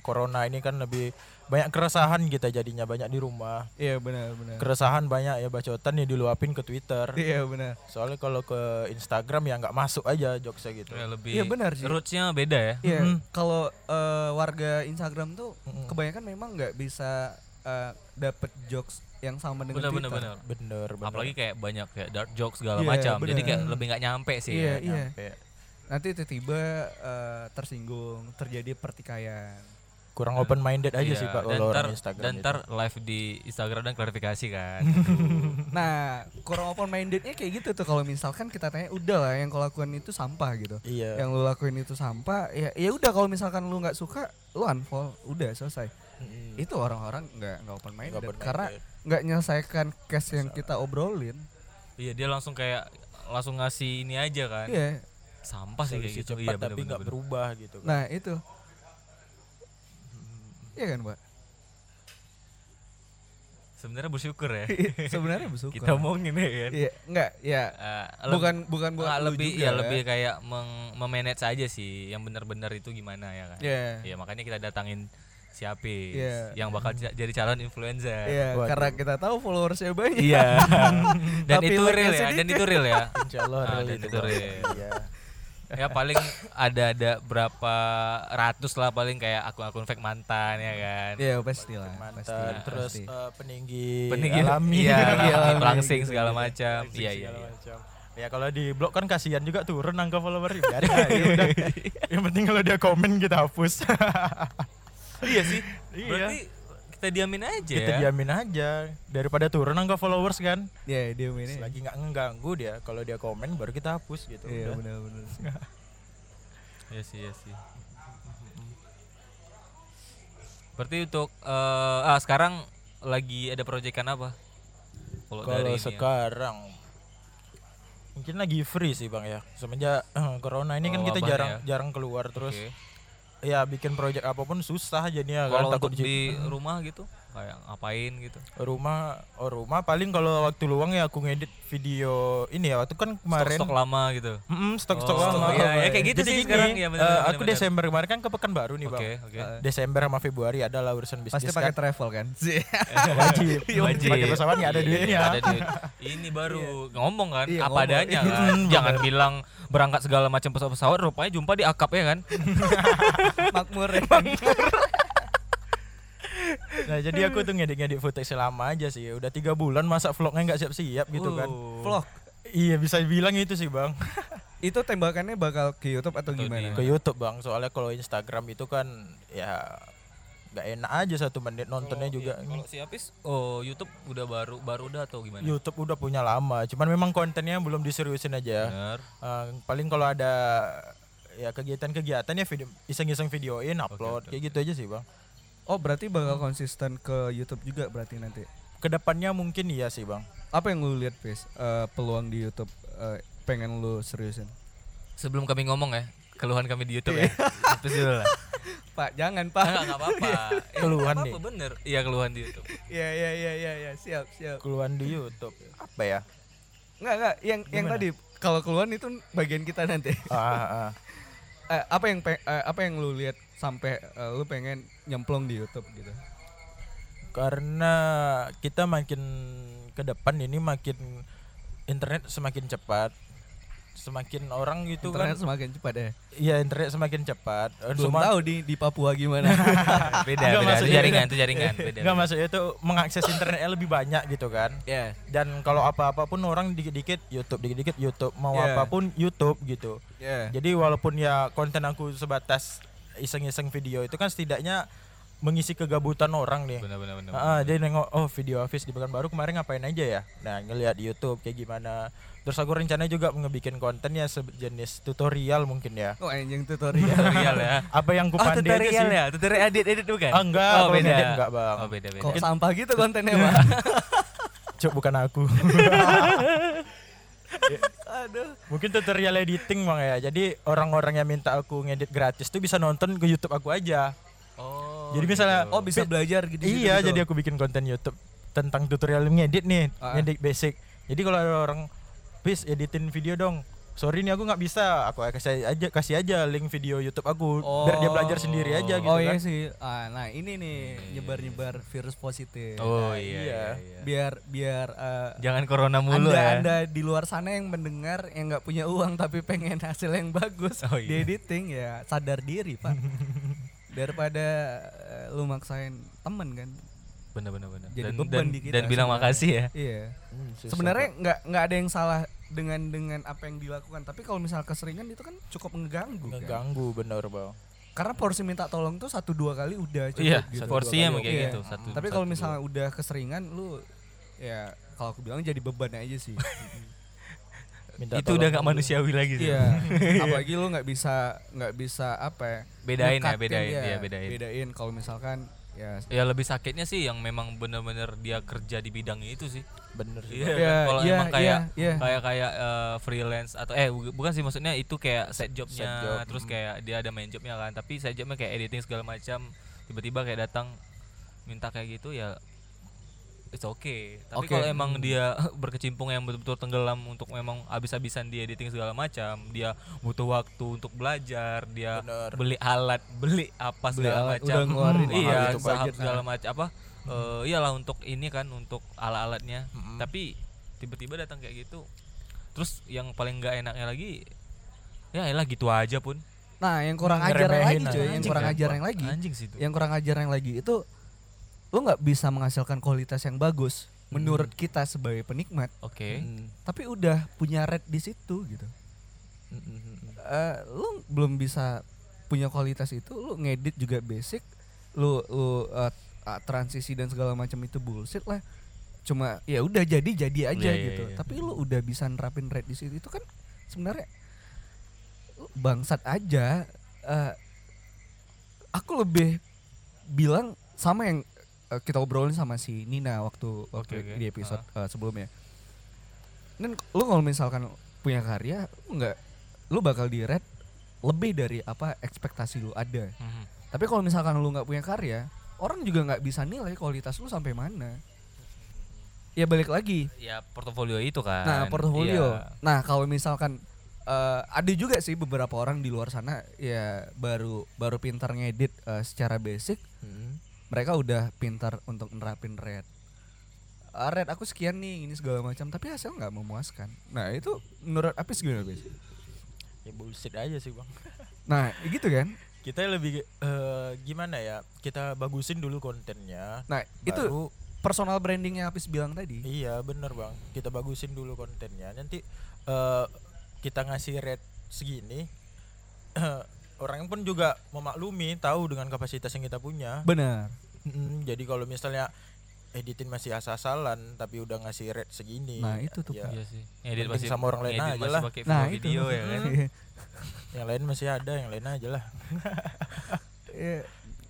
Speaker 3: corona ini kan lebih banyak keresahan kita jadinya banyak di rumah.
Speaker 2: Iya, benar-benar.
Speaker 3: Keresahan banyak ya bacotan ya diluapin ke Twitter.
Speaker 2: Iya, benar.
Speaker 3: Soalnya kalau ke Instagram ya nggak masuk aja jokesnya gitu.
Speaker 1: Ya, lebih
Speaker 2: Iya, benar sih.
Speaker 1: Rootsnya beda ya.
Speaker 2: Iya,
Speaker 3: Mm-mm.
Speaker 2: kalau eh, warga Instagram tuh
Speaker 3: Mm-mm.
Speaker 2: kebanyakan memang nggak bisa eh, dapet jokes yang sama dengan
Speaker 1: Benar-benar
Speaker 2: Twitter.
Speaker 1: benar.
Speaker 3: Bener, bener.
Speaker 1: Apalagi kayak banyak kayak dark jokes segala
Speaker 2: Iya,
Speaker 1: macam. Jadi
Speaker 2: benar.
Speaker 1: kayak lebih nggak nyampe sih.
Speaker 2: Iya,
Speaker 1: ya.
Speaker 2: iya.
Speaker 3: Kayak
Speaker 2: Nanti tiba-tiba eh, tersinggung, terjadi pertikaian.
Speaker 3: kurang open minded aja
Speaker 1: Iya,
Speaker 3: sih Pak
Speaker 1: dan
Speaker 3: kalau
Speaker 1: ntar,
Speaker 3: orang Instagram.
Speaker 1: dan
Speaker 3: itu.
Speaker 1: ntar live di Instagram dan klarifikasi kan.
Speaker 2: Nah, kurang open mindednya kayak gitu tuh kalau misalkan kita tanya udah lah yang kau lakuin itu sampah gitu.
Speaker 3: Iya.
Speaker 1: Ya.
Speaker 2: Yang lu lakuin itu sampah, ya ya udah kalau misalkan lu nggak suka, lu unfollow, udah selesai.
Speaker 3: Mm-mm.
Speaker 2: Itu orang-orang nggak nggak open minded
Speaker 3: Hmm. Nggak open-minded.
Speaker 2: karena nggak nyelesaikan case yang kita obrolin.
Speaker 1: iya, dia langsung kayak langsung ngasih ini aja kan.
Speaker 2: Iya.
Speaker 1: Sampah sih kayak
Speaker 3: Solusi
Speaker 1: gitu.
Speaker 3: cepat tapi
Speaker 1: benar-benar,
Speaker 3: nggak berubah gitu. kan.
Speaker 2: Nah, itu. Iya kan, Pak?
Speaker 1: benar. Sebenarnya bersyukur ya.
Speaker 2: Iya, Sebenarnya bersyukur.
Speaker 1: Kita omongin ya kan.
Speaker 2: Iya, enggak, ya.
Speaker 1: Eh, leb-
Speaker 2: Bukan bukan buat
Speaker 1: nggak
Speaker 2: lu
Speaker 1: lebih
Speaker 2: juga
Speaker 1: ya lebih kayak meng- memanage aja sih yang benar-benar itu gimana ya kan.
Speaker 2: Iya.
Speaker 1: Ya makanya kita datangin siapa
Speaker 2: Iya.
Speaker 1: yang bakal ja- jadi calon influencer.
Speaker 2: Iya,
Speaker 3: Waduh.
Speaker 2: karena kita tahu followersnya banyak.
Speaker 1: Iya. dan
Speaker 2: Tapi
Speaker 1: itu real
Speaker 2: like-nya
Speaker 1: ya, dan itu real ya.
Speaker 3: Insya Allah
Speaker 1: Ah,
Speaker 3: real
Speaker 1: dan
Speaker 3: itu,
Speaker 1: itu
Speaker 3: Bang.
Speaker 1: real.
Speaker 3: Iya.
Speaker 1: ya paling ada ada berapa ratus lah paling kayak akun-akun fake mantan ya kan.
Speaker 2: Iya, pasti lah. Pasti,
Speaker 3: Mantan terus
Speaker 2: pasti.
Speaker 3: eh, peninggi,
Speaker 1: Peninggi
Speaker 3: alami.
Speaker 1: iya,
Speaker 2: Iya, alami,
Speaker 1: pelangsing
Speaker 2: gitu,
Speaker 1: segala
Speaker 2: gitu.
Speaker 1: macam.
Speaker 3: Iya
Speaker 1: Iya iya. iya.
Speaker 3: Ya kalau di blog kan kasihan juga turun angka follower biarin aja udah. Yang penting kalau dia komen kita hapus.
Speaker 1: Iya sih.
Speaker 3: Iya.
Speaker 1: Berarti kita diamin aja.
Speaker 3: kita
Speaker 1: ya.
Speaker 3: diamin aja daripada turun angka followers kan.
Speaker 2: Iya, dia ini.
Speaker 3: Selagi nggak ngeganggu dia, kalau dia komen baru kita hapus gitu.
Speaker 2: Iya,
Speaker 3: Udah.
Speaker 2: benar-benar sih.
Speaker 1: Iya sih, iya sih. Berarti untuk eh, ah sekarang lagi ada proyekan apa? Kalau dari
Speaker 3: Kalau
Speaker 1: ini ya.
Speaker 3: sekarang mungkin lagi free sih bang ya semenjak eh, corona ini kan
Speaker 1: Oh,
Speaker 3: kita
Speaker 1: wabahnya
Speaker 3: jarang
Speaker 1: ya.
Speaker 3: jarang keluar terus
Speaker 1: Oke.
Speaker 3: ya bikin project apapun susah jadinya kan
Speaker 1: Kalau
Speaker 3: takut
Speaker 1: untuk di
Speaker 3: di-
Speaker 1: rumah gitu kayak ngapain gitu.
Speaker 3: rumah oh rumah paling kalau waktu luang ya aku ngedit video ini ya waktu kan kemarin
Speaker 1: Stok lama gitu.
Speaker 3: Mm-mm, stok-stok
Speaker 1: Oh,
Speaker 3: lama
Speaker 1: iya, ya kayak gitu
Speaker 3: Jadi
Speaker 1: sih
Speaker 3: gini,
Speaker 1: sekarang, ya,
Speaker 3: eh,
Speaker 1: bener-bener,
Speaker 3: aku
Speaker 1: bener-bener.
Speaker 3: Desember kemarin kan ke Pekanbaru nih
Speaker 1: Oke,
Speaker 3: bang Eh,
Speaker 1: oke.
Speaker 3: Desember sama Februari ada lah urusan bisnis
Speaker 2: Pasti pakai travel kan? Sih.
Speaker 3: kan wajib
Speaker 1: Wajib.
Speaker 3: pakai pesawat nggak ada
Speaker 1: Iya,
Speaker 3: duitnya
Speaker 1: nggak ada duit. Ini baru ngomong kan
Speaker 2: Iya,
Speaker 1: apa
Speaker 2: ngomong.
Speaker 1: adanya kan. Jangan bilang berangkat segala macam pesawat-pesawat rupanya jumpa di akap ya kan.
Speaker 2: Makmur. ya.
Speaker 3: nah jadi aku tuh ngedit-ngedit footage lama aja sih udah tiga bulan masa vlognya nggak siap-siap gitu kan
Speaker 1: Uh.
Speaker 2: Vlog.
Speaker 3: iya bisa bilang itu sih bang
Speaker 2: Itu tembakannya bakal ke YouTube atau
Speaker 1: Atau
Speaker 2: gimana?
Speaker 3: ke YouTube bang soalnya kalau Instagram itu kan ya nggak enak aja satu menit nontonnya juga
Speaker 1: Iya, Kalau si Apis oh YouTube udah baru baru udah atau gimana?
Speaker 3: YouTube udah punya lama, cuman memang kontennya belum diseriusin aja.
Speaker 1: Bener.
Speaker 3: Eh, paling kalau ada ya kegiatan-kegiatan ya video iseng-iseng videoin, upload kayak gitu aja sih, Bang.
Speaker 2: Oh, berarti bakal konsisten ke YouTube juga berarti nanti.
Speaker 3: Kedepannya mungkin iya sih, Bang.
Speaker 2: Apa yang lu lihat, Fis? Eh, peluang di YouTube eh, pengen lu seriusin?
Speaker 1: Sebelum kami ngomong ya, keluhan kami di YouTube ya.
Speaker 3: Iya.
Speaker 1: Apis dulu lah.
Speaker 2: Pak, jangan,
Speaker 1: Enggak enggak apa-apa. Eh,
Speaker 3: Iya, Keluhan
Speaker 1: nggak
Speaker 3: nih.
Speaker 1: apa-apa, bener. Iya keluhan di YouTube.
Speaker 2: Iya, iya, iya, iya, ya. siap, siap.
Speaker 3: Keluhan di YouTube apa ya?
Speaker 2: Enggak, enggak, yang yang tadi kalau keluar itu bagian kita nanti.
Speaker 3: Ah, ah, ah.
Speaker 2: Eh, apa yang pe- eh, apa yang lu lihat sampai eh, lu pengen nyemplung di YouTube gitu?
Speaker 3: karena kita makin ke depan ini makin internet semakin cepat semakin orang gitu
Speaker 2: Internet
Speaker 3: kan
Speaker 2: semakin cepat ya.
Speaker 3: iya internet semakin cepat Eh,
Speaker 2: Belum
Speaker 3: semua-
Speaker 2: tahu di di Papua gimana.
Speaker 1: beda
Speaker 3: Enggak,
Speaker 1: beda itu
Speaker 3: maksudnya-
Speaker 1: jaringan itu jaringan beda
Speaker 3: nggak maksudnya itu mengakses internetnya lebih banyak gitu kan
Speaker 1: ya
Speaker 3: dan kalau apa-apa pun orang dikit-dikit YouTube dikit-dikit YouTube mau
Speaker 2: Iya.
Speaker 3: apapun YouTube gitu
Speaker 2: Ya.
Speaker 1: Iya.
Speaker 3: jadi walaupun ya konten aku sebatas iseng-iseng video itu kan setidaknya mengisi kegabutan orang nih
Speaker 1: benar benar benar
Speaker 3: Ah, ah, dia nengok oh video Hafiz di Pekanbaru kemarin ngapain aja ya nah ngelihat di YouTube kayak gimana terus aku rencana juga ngebikin konten ya sejenis tutorial mungkin ya
Speaker 2: Oh anjing tutorial.
Speaker 1: tutorial ya
Speaker 3: apa yang
Speaker 1: oh
Speaker 3: ku pandai aja
Speaker 1: tutorial
Speaker 3: sih
Speaker 1: ya tutorial edit edit bukan
Speaker 3: Ah, enggak,
Speaker 1: oh
Speaker 3: kalau
Speaker 1: beda
Speaker 3: ngedit enggak, Bang.
Speaker 1: oh beda beda
Speaker 2: Kok sampah gitu kontennya, Pak?
Speaker 3: Cuk, bukan aku Ya.
Speaker 2: Aduh.
Speaker 3: mungkin tutorial editing bang ya jadi orang-orang yang minta aku ngedit gratis tuh bisa nonton ke YouTube aku aja
Speaker 1: oh
Speaker 3: jadi misalnya
Speaker 2: Oh, bisa belajar gitu.
Speaker 3: iya jadi aku bikin konten YouTube tentang tutorial ngedit nih
Speaker 2: Ah.
Speaker 3: ngedit basic jadi kalau ada orang please editin video dong sorry nih aku nggak bisa aku kasih aja kasih aja link video YouTube aku biar dia belajar sendiri aja gitu
Speaker 2: Oh iya
Speaker 3: kan
Speaker 2: sih. Ah, nah, ini nih nyebar-nyebar virus positif.
Speaker 1: oh iya, iya. iya.
Speaker 2: Biar biar eh,
Speaker 5: Jangan corona mulu
Speaker 2: anda,
Speaker 5: ya.
Speaker 2: anda di luar sana yang mendengar yang nggak punya uang tapi pengen hasil yang bagus
Speaker 5: Oh,
Speaker 2: di editing ya sadar diri pak daripada eh, lu maksain temen kan
Speaker 5: Bener bener bener. dan,
Speaker 2: Jadi beban
Speaker 5: dan-
Speaker 2: di kita
Speaker 5: dan bilang
Speaker 2: sebenarnya.
Speaker 5: makasih ya.
Speaker 2: iya
Speaker 3: Hmm, susah,
Speaker 2: sebenarnya nggak nggak ada yang salah dengan dengan apa yang dilakukan tapi kalau misal keseringan itu kan cukup mengganggu kan?
Speaker 3: ngeganggu bener bang
Speaker 2: karena porsi minta tolong tuh satu dua kali udah cukup
Speaker 1: Iya,
Speaker 2: gitu.
Speaker 1: porsinya emang kayak
Speaker 2: Iya.
Speaker 1: gitu, satu-
Speaker 2: tapi kalau
Speaker 1: satu,
Speaker 2: misalnya udah keseringan lu ya kalau aku bilang jadi beban aja sih
Speaker 3: Minta
Speaker 5: itu udah
Speaker 3: tolong
Speaker 5: nggak
Speaker 3: dulu.
Speaker 5: manusiawi lagi sih.
Speaker 2: Iya. Apalagi lu nggak bisa nggak bisa apa ya?
Speaker 1: Bedain ya,
Speaker 2: nyekatin
Speaker 1: bedain,
Speaker 2: dia.
Speaker 1: iya, bedain.
Speaker 2: Bedain kalau misalkan ya
Speaker 1: ya lebih sakitnya sih yang memang benar-benar dia kerja di bidangnya itu sih
Speaker 3: bener sih
Speaker 1: Iya,
Speaker 2: Iya,
Speaker 1: kan? kalau
Speaker 2: iya,
Speaker 1: emang kayak
Speaker 2: iya, iya.
Speaker 1: kayak kayak eh, freelance atau eh bu- bukan sih maksudnya itu kayak set jobnya
Speaker 3: Set job,
Speaker 2: hmm.
Speaker 1: terus kayak dia ada main jobnya kan tapi set jobnya kayak editing segala macam tiba-tiba kayak datang minta kayak gitu ya it's okay tapi
Speaker 2: Oke. hmm.
Speaker 1: kalau emang dia berkecimpung yang betul-betul tenggelam untuk memang habis-habisan dia editing segala macam dia butuh waktu untuk belajar dia
Speaker 3: Bener.
Speaker 1: beli alat beli apa
Speaker 2: Beli
Speaker 1: segala
Speaker 2: alat, udah
Speaker 1: macam
Speaker 2: ngeluarin
Speaker 1: iya
Speaker 2: mahal itu
Speaker 1: saham
Speaker 2: budget, kan? Hmm.
Speaker 1: segala macam apa eh, iyalah untuk ini kan untuk alat-alatnya
Speaker 3: Hmm.
Speaker 1: tapi tiba-tiba datang kayak gitu terus yang paling nggak enaknya lagi ya elah gitu aja pun
Speaker 2: nah yang kurang ajar yang lagi
Speaker 3: Ngeremehin
Speaker 2: cuy, yang
Speaker 3: anjing
Speaker 2: kurang
Speaker 3: kan,
Speaker 2: ajar yang lagi. Ya.
Speaker 1: anjing sih itu
Speaker 2: Yang kurang ajar yang lagi itu lu nggak bisa menghasilkan kualitas yang bagus menurut
Speaker 1: Hmm.
Speaker 2: kita sebagai penikmat,
Speaker 1: oke
Speaker 3: Mm,
Speaker 2: tapi udah punya red di situ gitu.
Speaker 3: mm, mm, mm, mm.
Speaker 2: Eh, lu belum bisa punya kualitas itu, lu ngedit juga basic, lu lu eh, ah, transisi dan segala macam itu bullshit lah. Cuma ya udah jadi jadi aja
Speaker 1: Iya, iya,
Speaker 2: gitu.
Speaker 1: iya.
Speaker 2: Tapi lu udah bisa nerapin red di situ itu kan sebenarnya lu bangsat aja. Eh, aku lebih bilang sama yang eh, kita obrolin sama si Nina waktu waktu
Speaker 1: Oke, Ah. oke.
Speaker 2: di episode eh, sebelumnya. Dan lu kalau misalkan punya karya lu nggak lu bakal di red lebih dari apa ekspektasi lu ada.
Speaker 1: Mhm.
Speaker 2: Tapi kalau misalkan lu nggak punya karya, orang juga nggak bisa nilai kualitas lu sampai mana. Ya balik lagi.
Speaker 1: ya portofolio itu kan
Speaker 2: Nah, portofolio.
Speaker 1: Iya.
Speaker 2: Nah, kalau misalkan eh, ada juga sih beberapa orang di luar sana ya baru baru pintar ngedit eh, secara basic,
Speaker 3: Mm.
Speaker 2: mereka udah pintar untuk nerapin red. Eh, red aku sekian nih, ini segala macam, tapi hasil nggak memuaskan. Nah, itu menurut Apis gimana, Apis?
Speaker 3: ya bullshit aja sih bang
Speaker 2: Nah, gitu kan?
Speaker 3: kita lebih eh, gimana ya kita bagusin dulu kontennya
Speaker 2: Nah, itu
Speaker 3: baru
Speaker 2: personal brandingnya Apis bilang tadi.
Speaker 3: Iya bener bang, kita bagusin dulu kontennya. Nanti eh, kita ngasih rate segini, orang pun juga memaklumi, tahu dengan kapasitas yang kita punya.
Speaker 2: Benar.
Speaker 3: Mm, jadi kalau misalnya editin masih asal-asalan, tapi udah ngasih rate segini.
Speaker 2: Nah, itu tuh,
Speaker 3: ya,
Speaker 1: Iya sih edit
Speaker 3: Mending
Speaker 1: masih
Speaker 3: sama orang lain
Speaker 1: ngedit
Speaker 3: aja
Speaker 1: masih
Speaker 3: lah.
Speaker 1: pakai
Speaker 2: Nah, itu.
Speaker 1: video ya kan
Speaker 3: yang lain masih ada, yang lain aja lah.
Speaker 2: Iya.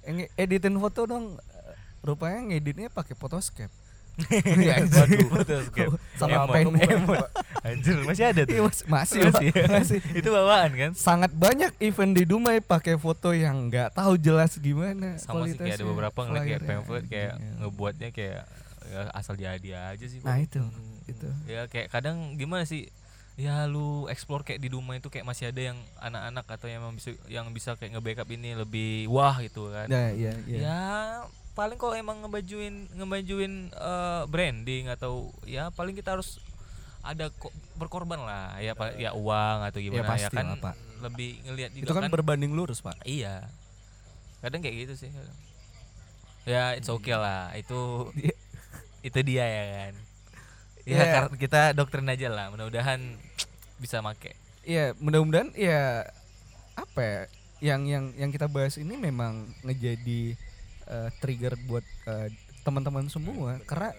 Speaker 2: Yang editin foto dong eh, rupanya ngeditnya pakai Photoscape. Iya,
Speaker 1: Waduh, Photoscape.
Speaker 2: Sama
Speaker 1: Emot.
Speaker 2: pen emot.
Speaker 1: anjir masih ada tuh
Speaker 2: Iya, mas- masih,
Speaker 1: Masih.
Speaker 2: Pak. masih.
Speaker 1: itu bawaan kan
Speaker 2: Sangat banyak event di Dumai pakai foto yang nggak tahu jelas gimana
Speaker 1: sama sih kayak ada
Speaker 2: kualitasnya,
Speaker 1: beberapa ngeliat kayak
Speaker 2: flyernya.
Speaker 1: pamphlet kayak
Speaker 2: Iya.
Speaker 1: ngebuatnya kayak ya, asal jadi aja sih
Speaker 2: Nah,
Speaker 1: Bang.
Speaker 2: itu. Itu.
Speaker 1: ya kayak kadang gimana sih ya lu explore kayak di Duma itu kayak masih ada yang anak-anak atau yang emang bisa yang bisa kayak nge-backup ini lebih wah gitu kan.
Speaker 2: Nah, iya,
Speaker 1: Ya paling kalau emang ngebajuin ngebajuin eh, branding atau ya paling kita harus ada ko- berkorban lah ya pa- ya uang atau gimana ya,
Speaker 2: pasti
Speaker 1: kan
Speaker 2: lah, Pak.
Speaker 1: lebih ngelihat juga
Speaker 2: Itu kan berbanding lurus, Pak.
Speaker 1: Iya. Kadang kayak gitu sih. kadang. Ya it's okay lah. Itu itu dia ya kan. Ya
Speaker 2: Iya.
Speaker 1: kar- kita dokterin aja lah. Mudah-mudahan bisa make.
Speaker 2: Iya, mudah-mudahan ya apa ya, yang yang yang kita bahas ini memang ngejadi eh, trigger buat eh, teman-teman semua karena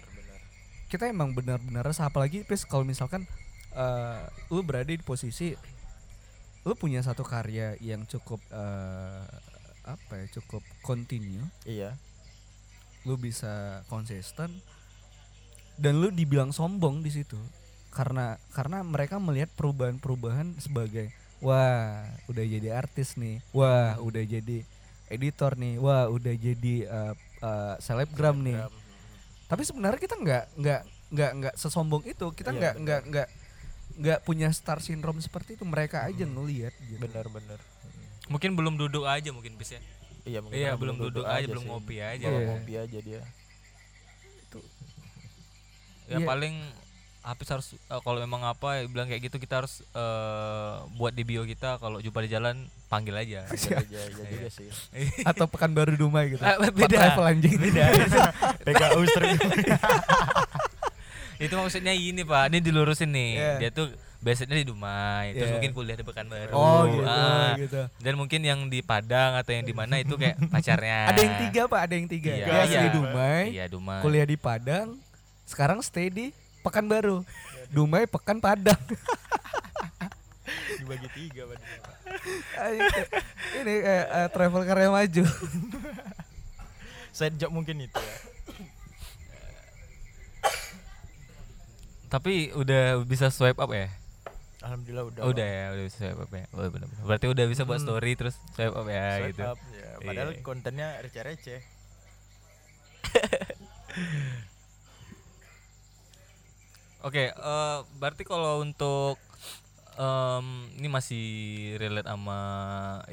Speaker 2: kita emang benar-benar resah apalagi pis kalau misalkan eh, lu berada di posisi lu punya satu karya yang cukup eh, apa ya cukup continue
Speaker 3: Iya.
Speaker 2: lu bisa konsisten dan lu dibilang sombong di situ karena karena mereka melihat perubahan-perubahan sebagai wah udah jadi artis nih wah udah jadi editor nih wah udah jadi eh, eh, selebgram nih
Speaker 3: Iya,
Speaker 2: tapi sebenarnya kita nggak nggak nggak nggak sesombong itu kita
Speaker 3: Iya,
Speaker 2: nggak
Speaker 3: benar.
Speaker 2: nggak nggak nggak punya star syndrome seperti itu mereka
Speaker 1: Hmm.
Speaker 2: aja ngelihat gitu.
Speaker 3: Benar-benar.
Speaker 1: Mungkin belum duduk aja mungkin bisa.
Speaker 3: Iya, mungkin
Speaker 1: Iya,
Speaker 3: karena
Speaker 1: belum duduk aja, belum
Speaker 3: sih.
Speaker 1: ngopi aja.
Speaker 3: Belum
Speaker 2: Iya.
Speaker 3: ngopi aja dia.
Speaker 1: Ya
Speaker 2: Iya.
Speaker 1: paling habis harus eh, kalau memang apa bilang kayak gitu kita harus eh, buat di bio kita kalau jumpa di jalan panggil aja.
Speaker 3: Iya, iya, iya juga sih.
Speaker 2: atau pekan baru dumai gitu
Speaker 1: Ah,
Speaker 2: Pak
Speaker 1: beda.
Speaker 2: Travel anjing
Speaker 3: PKU sering.
Speaker 1: itu maksudnya ini pak ini dilurusin nih
Speaker 2: Iya.
Speaker 1: dia tuh biasanya di Dumai terus
Speaker 2: Iya.
Speaker 1: mungkin kuliah di Pekanbaru
Speaker 2: oh gitu
Speaker 1: Ah,
Speaker 2: gitu
Speaker 1: dan mungkin yang di Padang atau yang di mana itu kayak pacarnya
Speaker 2: ada yang tiga pak ada yang tiga
Speaker 1: Iya.
Speaker 2: Dia asli
Speaker 1: Iya.
Speaker 2: dumai
Speaker 1: iya Dumai
Speaker 2: kuliah di Padang, sekarang stay di Pekanbaru. Dumai Pekan Padang.
Speaker 3: Dibagi tiga berarti.
Speaker 2: Ini eh, eh, travel karya maju.
Speaker 3: Side job mungkin itu ya.
Speaker 1: tapi udah bisa swipe up ya
Speaker 3: Alhamdulillah udah.
Speaker 1: udah ya udah bisa swipe up ya oh, bener -bener. berarti udah bisa
Speaker 2: Hmm.
Speaker 1: buat story terus swipe up ya
Speaker 3: Swipe
Speaker 1: gitu
Speaker 3: up, ya. Padahal
Speaker 1: Iya.
Speaker 3: kontennya receh-receh.
Speaker 1: Oke, eh, berarti kalau untuk em, ini masih relate sama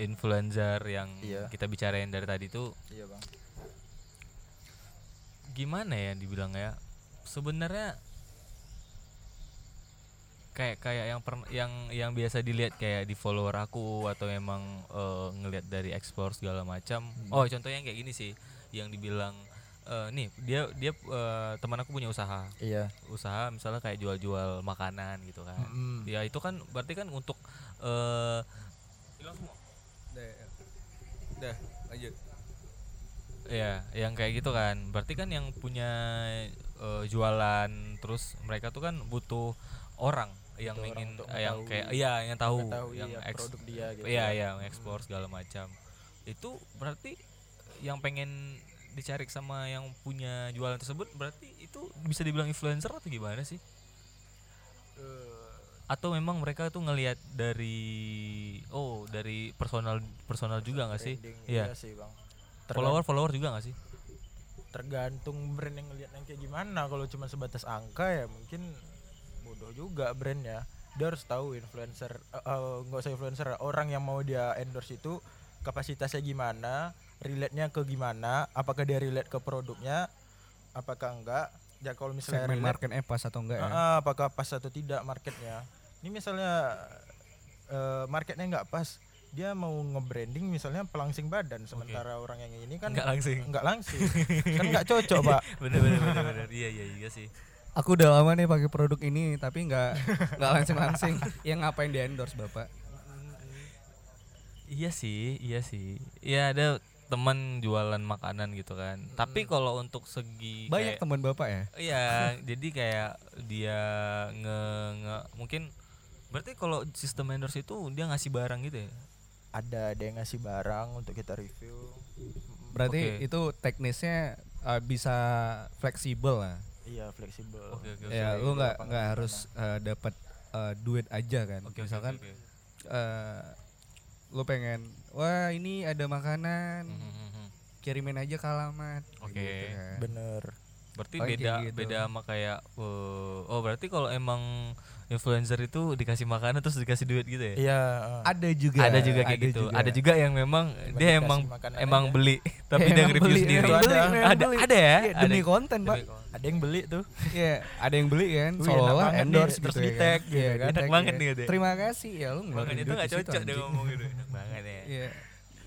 Speaker 1: influencer yang
Speaker 3: Iya.
Speaker 1: kita bicarain dari tadi tuh
Speaker 3: Iya, Bang.
Speaker 1: gimana ya dibilang ya sebenarnya kayak kayak yang pernah yang yang biasa dilihat kayak di follower aku atau emang eh, ngelihat dari explore segala macam oh contohnya yang kayak gini sih yang dibilang eh, nih dia dia eh, teman aku punya usaha
Speaker 3: Iya.
Speaker 1: usaha misalnya kayak jual-jual makanan gitu kan
Speaker 3: Mm.
Speaker 1: ya itu kan berarti kan untuk eh
Speaker 2: Dah, lanjut.
Speaker 1: Ya, yang kayak gitu kan. Berarti kan yang punya eh, jualan terus mereka tuh kan butuh orang yang
Speaker 3: Butuh orang
Speaker 1: ingin
Speaker 3: untuk
Speaker 1: eh, yang
Speaker 3: mengetahui-
Speaker 1: kayak iya yang tahu
Speaker 3: mengetahui
Speaker 1: yang
Speaker 3: ya
Speaker 1: eks-
Speaker 3: produk dia
Speaker 1: Iya,
Speaker 3: gitu ya.
Speaker 1: iya, yang ekspor segala macam. Itu berarti yang pengen dicari sama yang punya jualan tersebut berarti itu bisa dibilang influencer atau gimana sih?
Speaker 3: Eh,
Speaker 1: Atau memang mereka tuh ngelihat dari oh, dari personal personal juga nggak sih?
Speaker 3: Branding,
Speaker 1: Iya.
Speaker 3: sih, Bang. Tergan-
Speaker 1: Follower follower juga nggak sih?
Speaker 3: tergantung brand yang ngeliat yang kayak gimana kalau cuma sebatas angka ya mungkin bodoh juga brand ya dia harus tahu influencer eh, eh, nggak usah influencer orang yang mau dia endorse itu kapasitasnya gimana relate nya ke gimana apakah dia relate ke produknya apakah enggak ya kalau misalnya
Speaker 2: Segmen
Speaker 3: relate-
Speaker 2: market epas
Speaker 1: Iya.
Speaker 2: atau enggak ya?
Speaker 3: Ah, apakah pas atau tidak marketnya ini misalnya eh, marketnya nggak pas dia mau nge-branding misalnya pelangsing badan sementara orang yang ini kan
Speaker 1: Nggak langsing.
Speaker 3: nggak langsing kan nggak cocok pak
Speaker 1: bener bener bener bener iya iya iya sih
Speaker 2: Aku udah lama nih pakai produk ini tapi enggak enggak langsing-langsing. Yang ngapain di endorse, Bapak?
Speaker 1: iya sih iya sih iya ada teman jualan makanan gitu kan tapi kalau untuk segi
Speaker 2: Hmm. Banyak
Speaker 1: kayak,
Speaker 2: teman Bapak ya?
Speaker 1: iya jadi kayak dia nge, nge- mungkin berarti kalau sistem endorse itu dia ngasih barang gitu ya
Speaker 3: ada ada yang ngasih barang untuk kita review
Speaker 2: Berarti
Speaker 1: Oke.
Speaker 2: itu teknisnya eh, bisa fleksibel lah.
Speaker 3: iya fleksibel
Speaker 1: oke oke oke
Speaker 2: Ya, lu nggak
Speaker 3: lapangan
Speaker 2: nggak
Speaker 3: gimana.
Speaker 2: harus eh, dapat eh, duit aja kan.
Speaker 1: oke
Speaker 2: Misalkan
Speaker 1: oke, oke.
Speaker 2: eh lo pengen wah ini ada makanan
Speaker 1: Mhm, mhm.
Speaker 2: kirimin aja ke alamat
Speaker 1: Oke.
Speaker 2: Gitu kan.
Speaker 3: bener
Speaker 1: Berarti
Speaker 2: Paling
Speaker 1: beda
Speaker 2: kayak gitu.
Speaker 1: beda sama kayak eh, oh berarti kalau emang influencer itu dikasih makanan terus dikasih duit gitu ya?
Speaker 3: Iya. eh.
Speaker 2: Ada juga.
Speaker 1: Ada juga kayak gitu. Ada juga yang memang dia
Speaker 3: dikasih
Speaker 1: emang
Speaker 3: makanan
Speaker 1: emang
Speaker 3: aja.
Speaker 1: beli tapi dia
Speaker 2: Iya, Emang
Speaker 1: nge-review
Speaker 2: beli,
Speaker 1: sendiri.
Speaker 2: emang beli,
Speaker 1: ada,
Speaker 2: emang
Speaker 1: ada,
Speaker 2: beli.
Speaker 1: ada ya?
Speaker 2: Iya,
Speaker 1: Ada.
Speaker 2: demi konten, Pak.
Speaker 1: Demi konten.
Speaker 3: Ada yang beli tuh.
Speaker 2: Iya, ada yang beli kan,
Speaker 3: Wih,
Speaker 2: seolah-olah
Speaker 3: enak banget nih,
Speaker 2: endorse
Speaker 3: terus
Speaker 2: gitu ya
Speaker 3: di-tag
Speaker 2: kan. Iya,
Speaker 3: gitu kan.
Speaker 2: di-tag,
Speaker 1: Enak banget
Speaker 2: iya.
Speaker 1: nih katanya.
Speaker 2: Terima kasih ya lu ngeluarin
Speaker 1: Makanya itu
Speaker 2: duit
Speaker 1: nggak
Speaker 2: di situ,
Speaker 1: cocok dia
Speaker 2: anjing.
Speaker 1: ngomong gitu. Enak banget ya.
Speaker 2: Iya.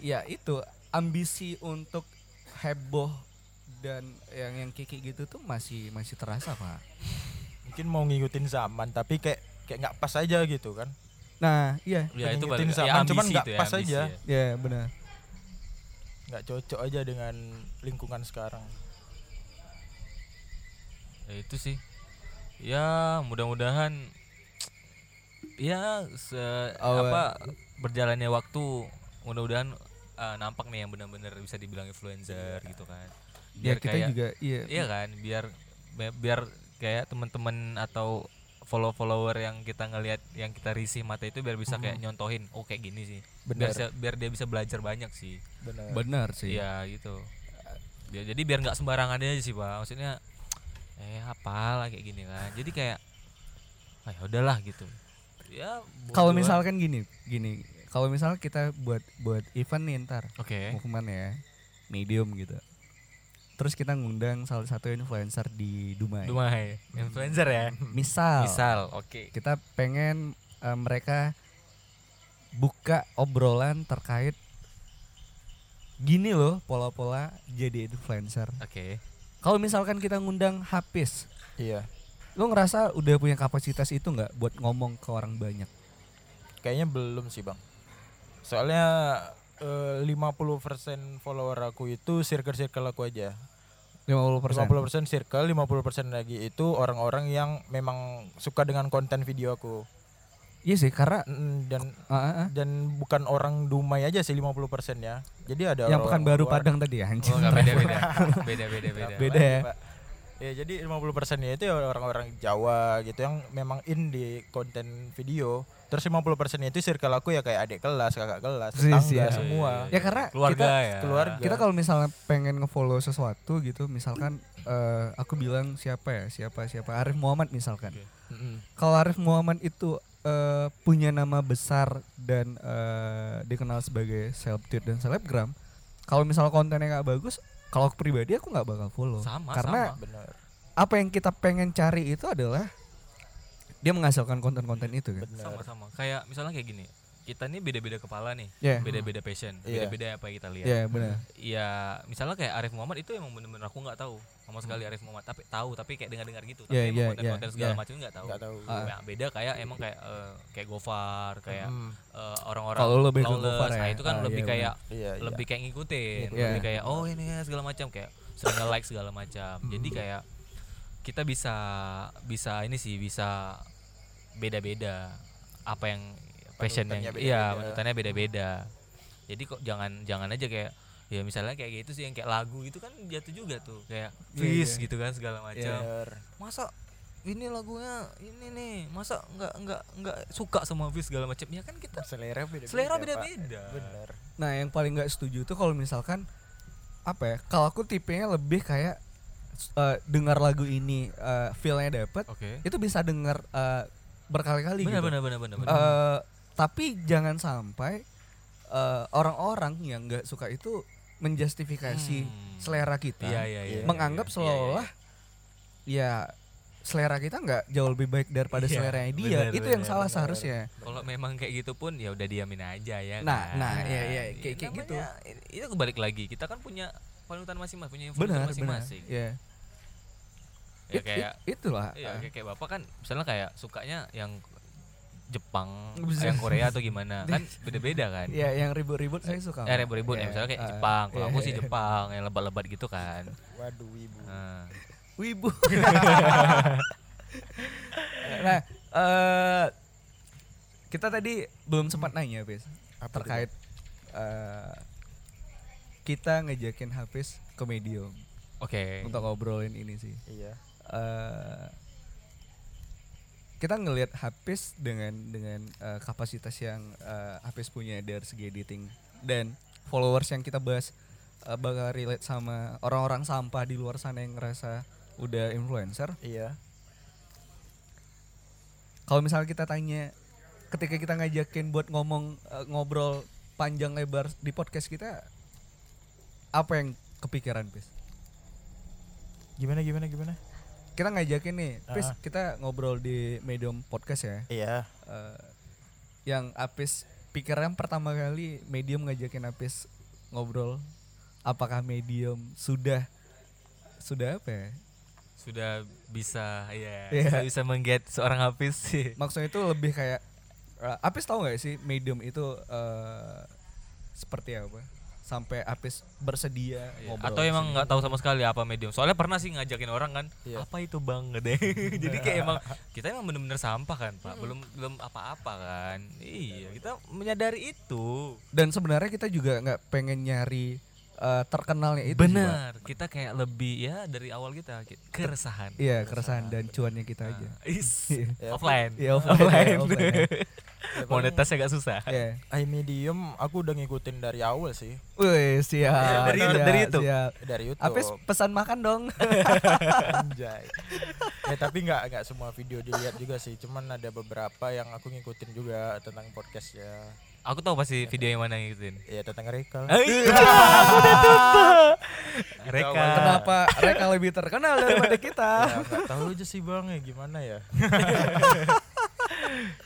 Speaker 2: Ya itu ambisi untuk heboh dan yang yang kiki gitu tuh masih masih terasa, Pak.
Speaker 3: Mungkin mau ngikutin zaman tapi kayak kayak nggak pas aja gitu kan.
Speaker 2: Nah, iya.
Speaker 1: Ya itu balik ya
Speaker 3: Ngikutin zaman, cuman
Speaker 1: ambisi
Speaker 3: nggak
Speaker 1: itu ya,
Speaker 3: pas
Speaker 1: ambisi
Speaker 3: aja.
Speaker 1: ya.
Speaker 2: Ya, benar.
Speaker 3: Nggak cocok aja dengan lingkungan sekarang.
Speaker 1: ya itu sih ya mudah-mudahan ya se
Speaker 2: Awal.
Speaker 1: apa berjalannya waktu mudah-mudahan eh, nampak nih yang benar-benar bisa dibilang influencer gitu kan biar
Speaker 2: Ya kita
Speaker 1: kayak
Speaker 2: juga iya.
Speaker 1: iya kan biar bi- biar kayak teman-teman atau follow-follower yang kita ngelihat yang kita risih mata itu biar bisa kayak nyontohin oh kayak gini sih biar
Speaker 3: Bener.
Speaker 1: se- biar dia bisa belajar banyak sih
Speaker 3: Benar.
Speaker 2: Benar sih.
Speaker 1: Iya gitu. Ya, jadi biar nggak sembarangan aja sih pak. Maksudnya eh apalah kayak gini kan. Jadi kayak ah ya udahlah gitu. Ya buat
Speaker 2: Kalau
Speaker 1: gua-
Speaker 2: misalkan gini, gini. Kalau misal kita buat buat event nih ntar
Speaker 1: Oke.
Speaker 2: movement ya, medium gitu. Terus kita ngundang salah satu influencer di Dumai. Oh.
Speaker 1: Dumai influencer ya.
Speaker 2: Misal,
Speaker 1: Misal, oke.
Speaker 2: kita pengen eh, mereka buka obrolan terkait gini loh pola-pola jadi influencer.
Speaker 1: Oke.
Speaker 2: Kalau misalkan kita ngundang Hafiz,
Speaker 3: Iya.
Speaker 2: lo ngerasa udah punya kapasitas itu nggak buat ngomong ke orang banyak?
Speaker 3: Kayaknya belum sih bang. Soalnya eh, 50% follower aku itu circle-circle aku aja.
Speaker 2: 50%.
Speaker 3: 50% circle, 50% lagi itu orang-orang yang memang suka dengan konten video aku.
Speaker 2: Iya sih, karena
Speaker 3: Mm, Dan
Speaker 2: ah, ah, ah.
Speaker 3: dan bukan orang Dumai aja sih 50% ya. Jadi ada
Speaker 2: yang
Speaker 3: orang
Speaker 2: pekan baru
Speaker 3: luar.
Speaker 2: Padang tadi ya, anjing.
Speaker 1: Oh nggak beda beda. Beda beda beda.
Speaker 2: Beda ya.
Speaker 3: Pak. Ya jadi 50% ya itu ya orang-orang Jawa gitu yang memang in di konten video. Terus 50% itu circle aku ya kayak adik kelas, kakak kelas,
Speaker 2: Sih,
Speaker 3: tetangga
Speaker 2: sih, ya.
Speaker 3: semua.
Speaker 2: Ya, karena
Speaker 1: keluarga
Speaker 2: kita-
Speaker 1: ya.
Speaker 3: keluarga.
Speaker 2: Kita kalau misalnya pengen ngefollow sesuatu gitu, misalkan eh, aku bilang siapa ya, siapa siapa Arif Muhammad misalkan.
Speaker 3: Mm-mm.
Speaker 2: kalau Arif Muhammad itu eh, punya nama besar dan eh, dikenal sebagai selebtit dan selebgram, kalau misal kontennya nggak bagus, kalau aku pribadi aku nggak bakal follow.
Speaker 1: Sama
Speaker 2: Karena
Speaker 1: sama.
Speaker 3: Benar.
Speaker 2: apa yang kita pengen cari itu adalah dia menghasilkan konten-konten itu kan.
Speaker 3: Benar.
Speaker 1: Sama sama. Kayak misalnya kayak gini. Kita nih beda-beda kepala nih,
Speaker 2: Iya.
Speaker 1: beda-beda passion,
Speaker 3: Iya.
Speaker 1: beda-beda apa yang kita lihat.
Speaker 2: Ya benar.
Speaker 1: ya misalnya kayak Arif Muhammad itu emang bener-bener aku nggak tahu sama
Speaker 2: Hmm.
Speaker 1: sekali Arif Muhammad tapi tahu tapi kayak dengar-dengar gitu tapi
Speaker 2: Yeah,
Speaker 1: emang
Speaker 2: yeah,
Speaker 1: konten-konten
Speaker 2: yeah,
Speaker 1: segala
Speaker 2: yeah.
Speaker 1: macam nggak tahu
Speaker 3: Enggak tahu.
Speaker 2: Ah.
Speaker 1: Nah, beda kayak emang kayak eh, kayak Gofar kayak
Speaker 3: Hmm.
Speaker 1: eh, orang-orang
Speaker 2: Kalau lebih ke
Speaker 1: lawless.
Speaker 2: Gofar
Speaker 1: nah
Speaker 2: ya.
Speaker 1: itu kan
Speaker 2: Ah,
Speaker 1: lebih
Speaker 2: iya,
Speaker 1: kayak
Speaker 3: Iya, iya.
Speaker 1: lebih kayak ngikutin
Speaker 2: Iya.
Speaker 1: lebih kayak oh ini ya, segala macam kayak sering nge-like segala macam
Speaker 2: Hmm.
Speaker 1: jadi kayak kita bisa bisa ini sih bisa beda-beda apa yang passion yang
Speaker 3: Panutannya
Speaker 1: iya
Speaker 3: beda-beda.
Speaker 2: Hmm.
Speaker 1: panutannya beda-beda jadi kok jangan jangan aja kayak ya misalnya kayak gitu sih yang kayak lagu itu kan jatuh juga tuh kayak
Speaker 2: Iya,
Speaker 1: fish
Speaker 2: iya.
Speaker 1: gitu kan segala macam
Speaker 3: Benar.
Speaker 1: masa ini lagunya ini nih masa nggak nggak nggak suka sama Fizz segala macam ya kan kita
Speaker 3: Selera beda-beda.
Speaker 1: selera
Speaker 3: Pak.
Speaker 1: beda-beda
Speaker 3: Benar.
Speaker 2: Nah yang paling nggak setuju itu kalau misalkan apa ya? Kalau aku tipenya lebih kayak eh, dengar lagu ini eh, feel-nya dapet,
Speaker 1: oke
Speaker 2: itu bisa dengar eh, berkali-kali
Speaker 1: benar
Speaker 2: gitu.
Speaker 1: benar benar benar benar.
Speaker 2: Eh, tapi jangan sampai eh, orang-orang yang nggak suka itu menjustifikasi
Speaker 1: Hmm.
Speaker 2: selera kita,
Speaker 1: Iya, iya, iya,
Speaker 2: menganggap
Speaker 1: iya, iya,
Speaker 2: seolah-olah ya selera kita nggak jauh lebih baik daripada
Speaker 1: Iya,
Speaker 2: selera dia.
Speaker 1: benar,
Speaker 2: itu yang
Speaker 1: benar,
Speaker 2: salah
Speaker 3: benar.
Speaker 2: seharusnya.
Speaker 1: kalau memang kayak gitu pun ya udah diamin aja ya kan?
Speaker 2: Nah, nah, iya, iya, kayak-
Speaker 1: Ya,
Speaker 2: kayak gitu.
Speaker 1: namanya- i- itu kebalik lagi kita kan punya panutan masing-masing punya
Speaker 2: Benar,
Speaker 1: influencer
Speaker 2: benar.
Speaker 1: masing-masing
Speaker 2: Ya.
Speaker 1: ya
Speaker 2: It-
Speaker 1: kayak
Speaker 2: it- itulah.
Speaker 1: ya
Speaker 2: eh,
Speaker 1: kayak, kayak bapak kan misalnya kayak sukanya yang Jepang,
Speaker 2: Bisa.
Speaker 1: yang Korea atau gimana kan beda-beda kan
Speaker 2: ya yang ribut-ribut saya suka.
Speaker 1: Eh ribut-ribut ya,
Speaker 2: Iya,
Speaker 1: misalnya kayak
Speaker 2: eh,
Speaker 1: Jepang. Kalau
Speaker 2: iya,
Speaker 1: aku sih
Speaker 2: iya.
Speaker 1: Jepang yang lebat-lebat gitu kan.
Speaker 3: Waduh, ibu.
Speaker 1: Nah,
Speaker 2: Wibu. nah, eh kita tadi belum sempat nanya, Bis.
Speaker 3: Apa
Speaker 2: terkait eh kita ngejakin Hafiz ke medium
Speaker 1: Oke.
Speaker 2: untuk ngobrolin ini sih.
Speaker 3: Iya.
Speaker 2: Eh kita ngelihat Hafiz dengan dengan eh, kapasitas yang eh, Hafiz punya dari segi editing dan followers yang kita bahas eh, bakal relate sama orang-orang sampah di luar sana yang ngerasa udah influencer
Speaker 3: Iya.
Speaker 2: kalau misalnya kita tanya ketika kita ngajakin buat ngomong eh, ngobrol panjang lebar di podcast kita apa yang kepikiran pis
Speaker 3: Gimana gimana gimana?
Speaker 2: kita ngajakin nih pis
Speaker 3: Ah.
Speaker 2: kita ngobrol di medium podcast ya
Speaker 3: Iya.
Speaker 2: Eh, yang apis pikiran pertama kali medium ngajakin apis ngobrol apakah medium sudah sudah apa ya?
Speaker 1: Sudah bisa ya,
Speaker 2: Iya.
Speaker 1: sudah bisa mengget seorang habis sih.
Speaker 2: maksudnya itu lebih kayak eh, Apis tahu nggak sih medium itu eh, seperti apa sampai Apis bersedia ngobrol
Speaker 1: Iya. Atau emang nggak tahu sama sekali apa medium. Soalnya pernah sih ngajakin orang kan,
Speaker 2: Iya.
Speaker 1: apa itu bang gede. Jadi kayak emang kita emang bener-bener sampah kan pak, belum belum apa-apa kan. Iya, kita menyadari itu.
Speaker 2: dan sebenarnya kita juga nggak pengen nyari eh, terkenalnya itu sih, Pak.
Speaker 1: Benar, kita kayak lebih ya dari awal kita ki- keresahan.
Speaker 2: iya keresahan dan cuannya kita aja
Speaker 1: Is,
Speaker 3: Ya,
Speaker 1: offline.
Speaker 2: iya offline, offline ya.
Speaker 1: Monetasnya agak susah.
Speaker 2: Iya.
Speaker 3: iMedium aku udah ngikutin dari awal sih
Speaker 2: Wih, siap
Speaker 1: Dari-
Speaker 2: siap,
Speaker 1: dari itu. Oh.
Speaker 2: siap.
Speaker 3: dari YouTube.
Speaker 2: Apis pesan makan dong
Speaker 3: Anjay. ya tapi nggak nggak semua video dilihat juga sih. Cuman ada beberapa yang aku ngikutin juga tentang podcast ya.
Speaker 1: Aku tahu pasti video yang mana yang ngikutin.
Speaker 3: Ya tentang Rekal.
Speaker 2: Iya.
Speaker 1: Ay, aku udah lupa. Reka.
Speaker 2: kenapa mereka lebih terkenal daripada kita
Speaker 3: Ya nggak tahu aja sih bang ya gimana ya.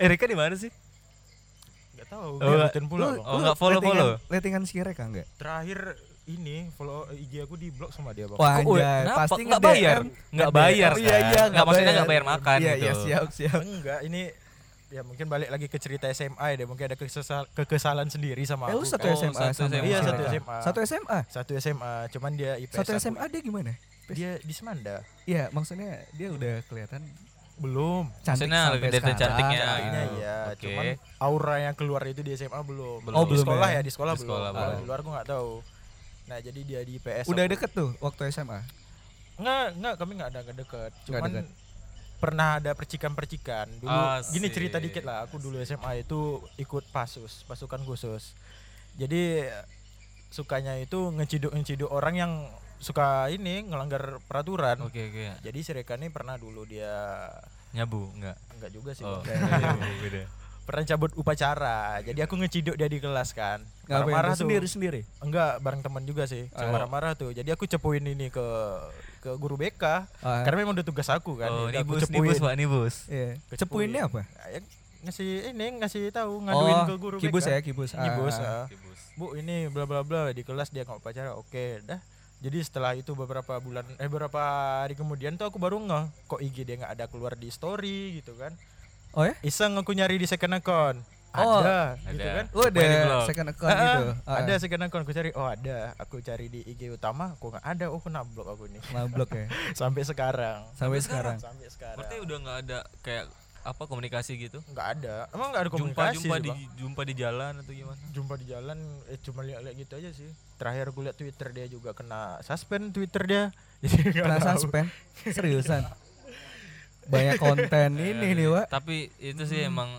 Speaker 1: Eh, Reka di mana sih?
Speaker 3: Nggak tahu.
Speaker 1: Oh,
Speaker 3: ngikutin pula
Speaker 2: Lu-
Speaker 3: bang.
Speaker 1: Oh,
Speaker 2: lu
Speaker 1: nggak follow-follow?
Speaker 2: Ya, lettingan- lettingan si Reka nggak
Speaker 3: Terakhir ini follow IG aku di blok sama dia bang.
Speaker 2: Wah,
Speaker 1: Kok udah- Oh,
Speaker 2: anjay,
Speaker 1: iya. kenapa?
Speaker 2: pasti
Speaker 1: Nggak
Speaker 2: nge-DM.
Speaker 1: bayar? Nggak bayar,
Speaker 2: Iya,
Speaker 1: kan?
Speaker 2: iya,
Speaker 1: Nggak, maksudnya nggak bayar makan
Speaker 2: Iya,
Speaker 1: gitu.
Speaker 2: iya, siap, siap.
Speaker 3: Enggak ini ya mungkin balik lagi ke cerita SMA ya deh mungkin ada kesesal- kekesalan sendiri sama
Speaker 2: Eh, lu
Speaker 3: aku
Speaker 2: satu
Speaker 3: kan.
Speaker 1: Oh,
Speaker 2: SMA
Speaker 1: satu SMA.
Speaker 2: sama si
Speaker 1: Iya,
Speaker 3: satu
Speaker 2: Reka.
Speaker 3: SMA.
Speaker 2: Satu SMA.
Speaker 3: satu SMA cuman dia IPS
Speaker 2: Satu
Speaker 3: aku-
Speaker 2: SMA dia gimana?
Speaker 3: dia di Semanda
Speaker 2: Iya, maksudnya dia udah kelihatan
Speaker 3: belum
Speaker 2: cantik
Speaker 1: Maksudnya
Speaker 2: sampai
Speaker 1: kelihatan
Speaker 2: sekarang.
Speaker 1: cantiknya.
Speaker 2: Ah,
Speaker 3: Kayaknya
Speaker 1: Oh,
Speaker 3: ya,
Speaker 1: oke.
Speaker 3: cuman aura yang keluar itu di SMA belum.
Speaker 1: Belum. Oh,
Speaker 3: di
Speaker 2: belum
Speaker 3: sekolah
Speaker 2: ya?
Speaker 3: ya, di sekolah,
Speaker 1: Di sekolah
Speaker 3: belum. Kalau
Speaker 1: belum.
Speaker 3: Di luar gua nggak tahu. Nah, jadi dia di IPS.
Speaker 2: Udah
Speaker 3: aku-
Speaker 2: deket tuh waktu SMA.
Speaker 3: Enggak, enggak, kami nggak ada nggak deket. Cuman
Speaker 2: deket.
Speaker 3: pernah ada percikan-percikan. Dulu gini
Speaker 1: Asik.
Speaker 3: cerita dikit lah, aku dulu SMA itu ikut PASUS, pasukan khusus. Jadi sukanya itu ngeciduk-ngeciduk orang yang suka ini ngelanggar peraturan.
Speaker 1: Oke, oke. ya.
Speaker 3: Jadi si Reka ini pernah dulu dia
Speaker 1: Nyabu enggak?
Speaker 3: enggak juga sih.
Speaker 1: Oh,
Speaker 3: Bang.
Speaker 1: beda.
Speaker 3: pernah cabut upacara jadi aku ngeciduk dia di kelas kan
Speaker 2: Ngapain tuh
Speaker 3: marah-marah tuh
Speaker 2: sendiri-sendiri?
Speaker 3: enggak bareng teman juga sih
Speaker 2: Oh.
Speaker 3: marah-marah tuh jadi aku cepuin ini ke ke guru BK
Speaker 2: Ah,
Speaker 3: karena memang udah tugas aku kan
Speaker 1: Oh,
Speaker 3: jadi aku
Speaker 1: nibus, nibus, Pak, nibus.
Speaker 2: Iya.
Speaker 3: Kecupuin.
Speaker 2: Cepuinnya apa?
Speaker 3: Ya, ngasih ini ngasih tahu ngaduin
Speaker 2: Oh,
Speaker 3: ke guru
Speaker 2: kibus
Speaker 3: BK
Speaker 2: ya, kibus. Ah,
Speaker 3: Ngibus,
Speaker 2: ah,
Speaker 3: ah.
Speaker 1: Nibus.
Speaker 3: bu ini bla bla bla di kelas dia nggak upacara oke dah jadi setelah itu beberapa bulan eh beberapa hari kemudian tuh aku baru ngeh kok IG dia nggak ada keluar di story gitu kan
Speaker 2: Oh ya?
Speaker 3: iseng aku nyari di second account
Speaker 2: Oh,
Speaker 3: ada, gitu
Speaker 1: ada.
Speaker 3: kan
Speaker 2: Oh,
Speaker 1: Cepuin di
Speaker 2: ada
Speaker 1: blog.
Speaker 2: second account
Speaker 3: Ah,
Speaker 2: gitu.
Speaker 3: ah, Ada second account aku cari. Oh, ada. Aku cari di IG utama, aku nggak ada. Oh, kena blok aku ini.
Speaker 2: Mablok ya.
Speaker 3: Sampai sekarang.
Speaker 2: Sampai sekarang.
Speaker 3: Sampai sekarang.
Speaker 1: Berarti udah nggak ada kayak apa komunikasi gitu?
Speaker 3: Nggak ada. Emang nggak ada
Speaker 1: Jumpa
Speaker 3: komunikasi
Speaker 1: jumpa
Speaker 3: sih,
Speaker 1: di
Speaker 3: Bang?
Speaker 1: jumpa di jalan atau gimana?
Speaker 3: jumpa di jalan eh cuma lihat-lihat gitu aja sih. Terakhir aku lihat Twitter dia juga kena suspend Twitter dia. Jadi nggak
Speaker 2: Kena
Speaker 3: tahu.
Speaker 2: suspend. Seriusan. Banyak konten ini nih, Wak.
Speaker 1: Iya. Tapi itu sih
Speaker 3: Hmm.
Speaker 1: emang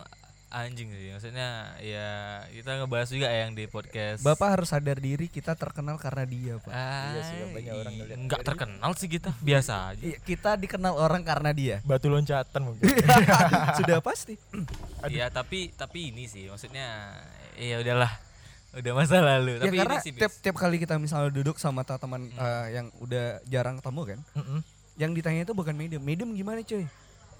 Speaker 1: anjing sih. Maksudnya ya kita ngebahas juga yang di podcast.
Speaker 2: Bapak harus sadar diri kita terkenal karena dia, Pak.
Speaker 1: Ah,
Speaker 3: Iya sih, banyak orang ngeliat.
Speaker 1: nggak terkenal sih kita, biasa aja.
Speaker 2: Iya, kita dikenal orang karena dia.
Speaker 3: Batu loncatan mungkin.
Speaker 2: Sudah pasti.
Speaker 1: Iya, tapi tapi ini sih maksudnya ya udahlah. Udah masa lalu.
Speaker 2: ya
Speaker 1: Tapi
Speaker 2: karena
Speaker 1: ini sih Bis.
Speaker 2: tiap tiap kali kita misalnya duduk sama ta- teman eh, yang udah jarang ketemu kan,
Speaker 3: Mm-mm.
Speaker 2: yang ditanya itu bukan medium. Medium gimana cuy?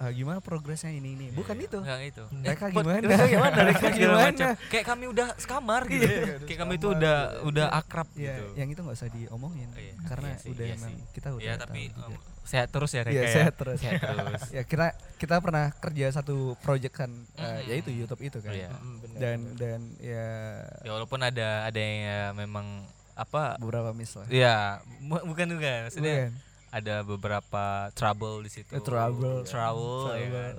Speaker 2: Eh, gimana progresnya ini ini? Bukan itu. Eh,
Speaker 1: Enggak itu.
Speaker 2: Mereka
Speaker 1: pod-
Speaker 2: gimana?
Speaker 1: mereka gimana? Mereka
Speaker 2: Mereka
Speaker 1: segala
Speaker 2: gimana? Iya,
Speaker 1: macam. Kayak kami udah sekamar gitu. Kayak kami itu udah udah akrab
Speaker 2: Ya,
Speaker 1: gitu.
Speaker 2: yang itu nggak usah diomongin
Speaker 1: Iya,
Speaker 2: karena
Speaker 1: iya sih,
Speaker 2: udah
Speaker 1: iya
Speaker 2: emang
Speaker 1: sih.
Speaker 2: kita udah.
Speaker 1: Ya,
Speaker 2: tahu
Speaker 1: tapi
Speaker 2: juga.
Speaker 1: um, sehat terus ya Reka.
Speaker 2: Iya,
Speaker 1: ya?
Speaker 2: sehat terus.
Speaker 1: Sehat terus.
Speaker 2: ya kita kita pernah kerja satu project kan, eh, yaitu YouTube itu
Speaker 1: Mm-hmm.
Speaker 2: kan.
Speaker 1: Iya.
Speaker 3: Mm, bener.
Speaker 2: Dan dan ya
Speaker 1: Ya walaupun ada ada yang ya memang apa
Speaker 2: beberapa miss lah.
Speaker 1: ya bu- bukan juga maksudnya
Speaker 2: Bukan.
Speaker 1: ada beberapa trouble di situ.
Speaker 2: Eh, trouble.
Speaker 1: Trouble, ya kan?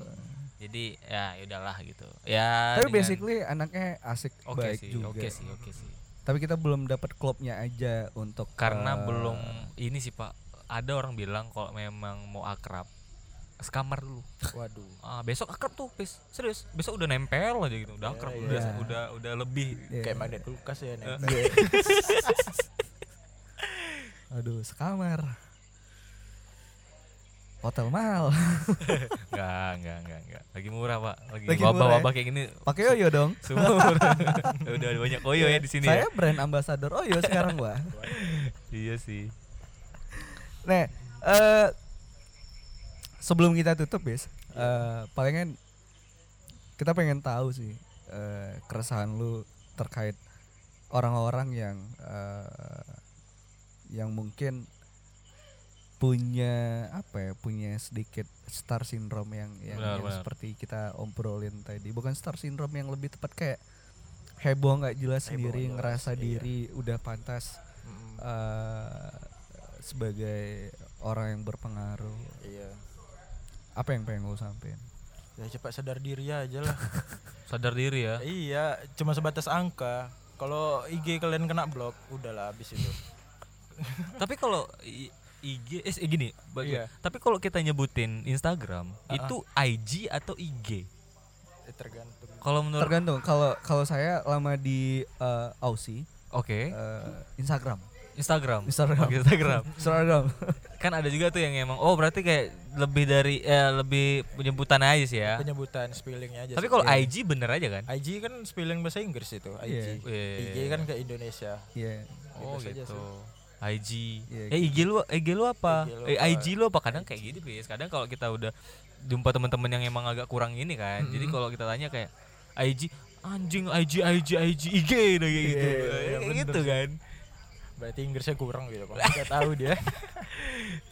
Speaker 1: Jadi ya ya udahlah gitu. Ya
Speaker 2: Tapi
Speaker 1: dengan-
Speaker 2: basically anaknya asik
Speaker 1: oke
Speaker 2: baik
Speaker 1: sih,
Speaker 2: juga.
Speaker 1: oke sih, oke sih.
Speaker 2: Tapi kita belum dapat klubnya aja untuk
Speaker 1: Karena
Speaker 2: eh,
Speaker 1: belum ini sih Pak. Ada orang bilang kalau memang mau akrab sekamar dulu.
Speaker 3: Waduh.
Speaker 1: Ah, besok akrab tuh, Pis. Serius, besok udah nempel aja gitu. Udah akrab, udah udah udah lebih.
Speaker 2: Iya.
Speaker 3: Kayak magnet kulkas ya nih.
Speaker 2: Aduh, sekamar. hotel mahal
Speaker 1: Enggak, enggak, enggak, enggak. Lagi murah, Pak. Lagi
Speaker 2: Lagi murah, ya?
Speaker 1: wabah-wabah kayak gini
Speaker 2: pakai Oyo dong
Speaker 1: semua. murah. Udah ada banyak koyo ya di sini. ya.
Speaker 2: saya brand ambassador Oyo sekarang gua
Speaker 1: Iya sih.
Speaker 2: nah eh sebelum kita tutup bis
Speaker 3: Iya.
Speaker 2: eh palingan kita pengen tahu sih eh keresahan lu terkait orang-orang yang eh yang mungkin punya apa ya punya sedikit star syndrome yang yang,
Speaker 1: Benar,
Speaker 2: yang
Speaker 1: benar.
Speaker 2: seperti kita omprolin tadi bukan star syndrome yang lebih tepat kayak heboh nggak jelas
Speaker 3: Heboh nggak
Speaker 2: sendiri
Speaker 3: jelas,
Speaker 2: ngerasa
Speaker 3: iya.
Speaker 2: diri udah pantas eh, sebagai orang yang berpengaruh
Speaker 3: Iya.
Speaker 2: apa yang pengen lo sampein
Speaker 3: Ya cepat sadar diri aja lah.
Speaker 1: Sadar diri ya.
Speaker 3: iya, cuma sebatas angka. Kalau IG kalian kena blok, udahlah habis itu.
Speaker 1: Tapi kalau i- IG eh gini, bagus.
Speaker 3: Iya.
Speaker 1: Tapi kalau kita nyebutin Instagram,
Speaker 3: Ah, ah.
Speaker 1: itu IG atau IG?
Speaker 3: Eh, Tergantung.
Speaker 1: Kalau menurut
Speaker 2: tergantung kalau kalau saya lama di eh, Aussie
Speaker 1: Oke,
Speaker 2: eh, Instagram
Speaker 1: Instagram.
Speaker 2: Instagram.
Speaker 1: Oke, Instagram.
Speaker 2: Instagram
Speaker 1: kan ada juga tuh yang emang oh berarti kayak lebih dari eh, lebih penyebutan aja sih ya.
Speaker 3: Penyebutan spellingnya aja.
Speaker 1: Tapi
Speaker 3: sih.
Speaker 1: kalau
Speaker 3: Iya.
Speaker 1: IG bener aja kan?
Speaker 3: IG kan spelling bahasa Inggris itu, IG.
Speaker 1: Iya, iya,
Speaker 3: IG
Speaker 1: iya.
Speaker 3: kan ke Indonesia.
Speaker 2: Iya.
Speaker 1: Oh
Speaker 3: Bebas aja
Speaker 1: gitu.
Speaker 3: sih.
Speaker 1: IG.
Speaker 2: Iya,
Speaker 1: eh IG lu IG lu apa?
Speaker 3: IG lu
Speaker 1: eh
Speaker 3: apa?
Speaker 1: IG lu apa? Kadang kayak gitu, guys. Kadang kalau kita udah jumpa teman-teman yang emang agak kurang ini kan. Jadi kalau kita tanya kayak IG anjing IG IG IG IG nah, kayak gitu.
Speaker 3: Iya, iya,
Speaker 1: Eh, kayak
Speaker 3: bener
Speaker 1: gitu
Speaker 3: sih.
Speaker 1: kan.
Speaker 3: Berarti Inggrisnya kurang gitu, Pak. Enggak tahu dia.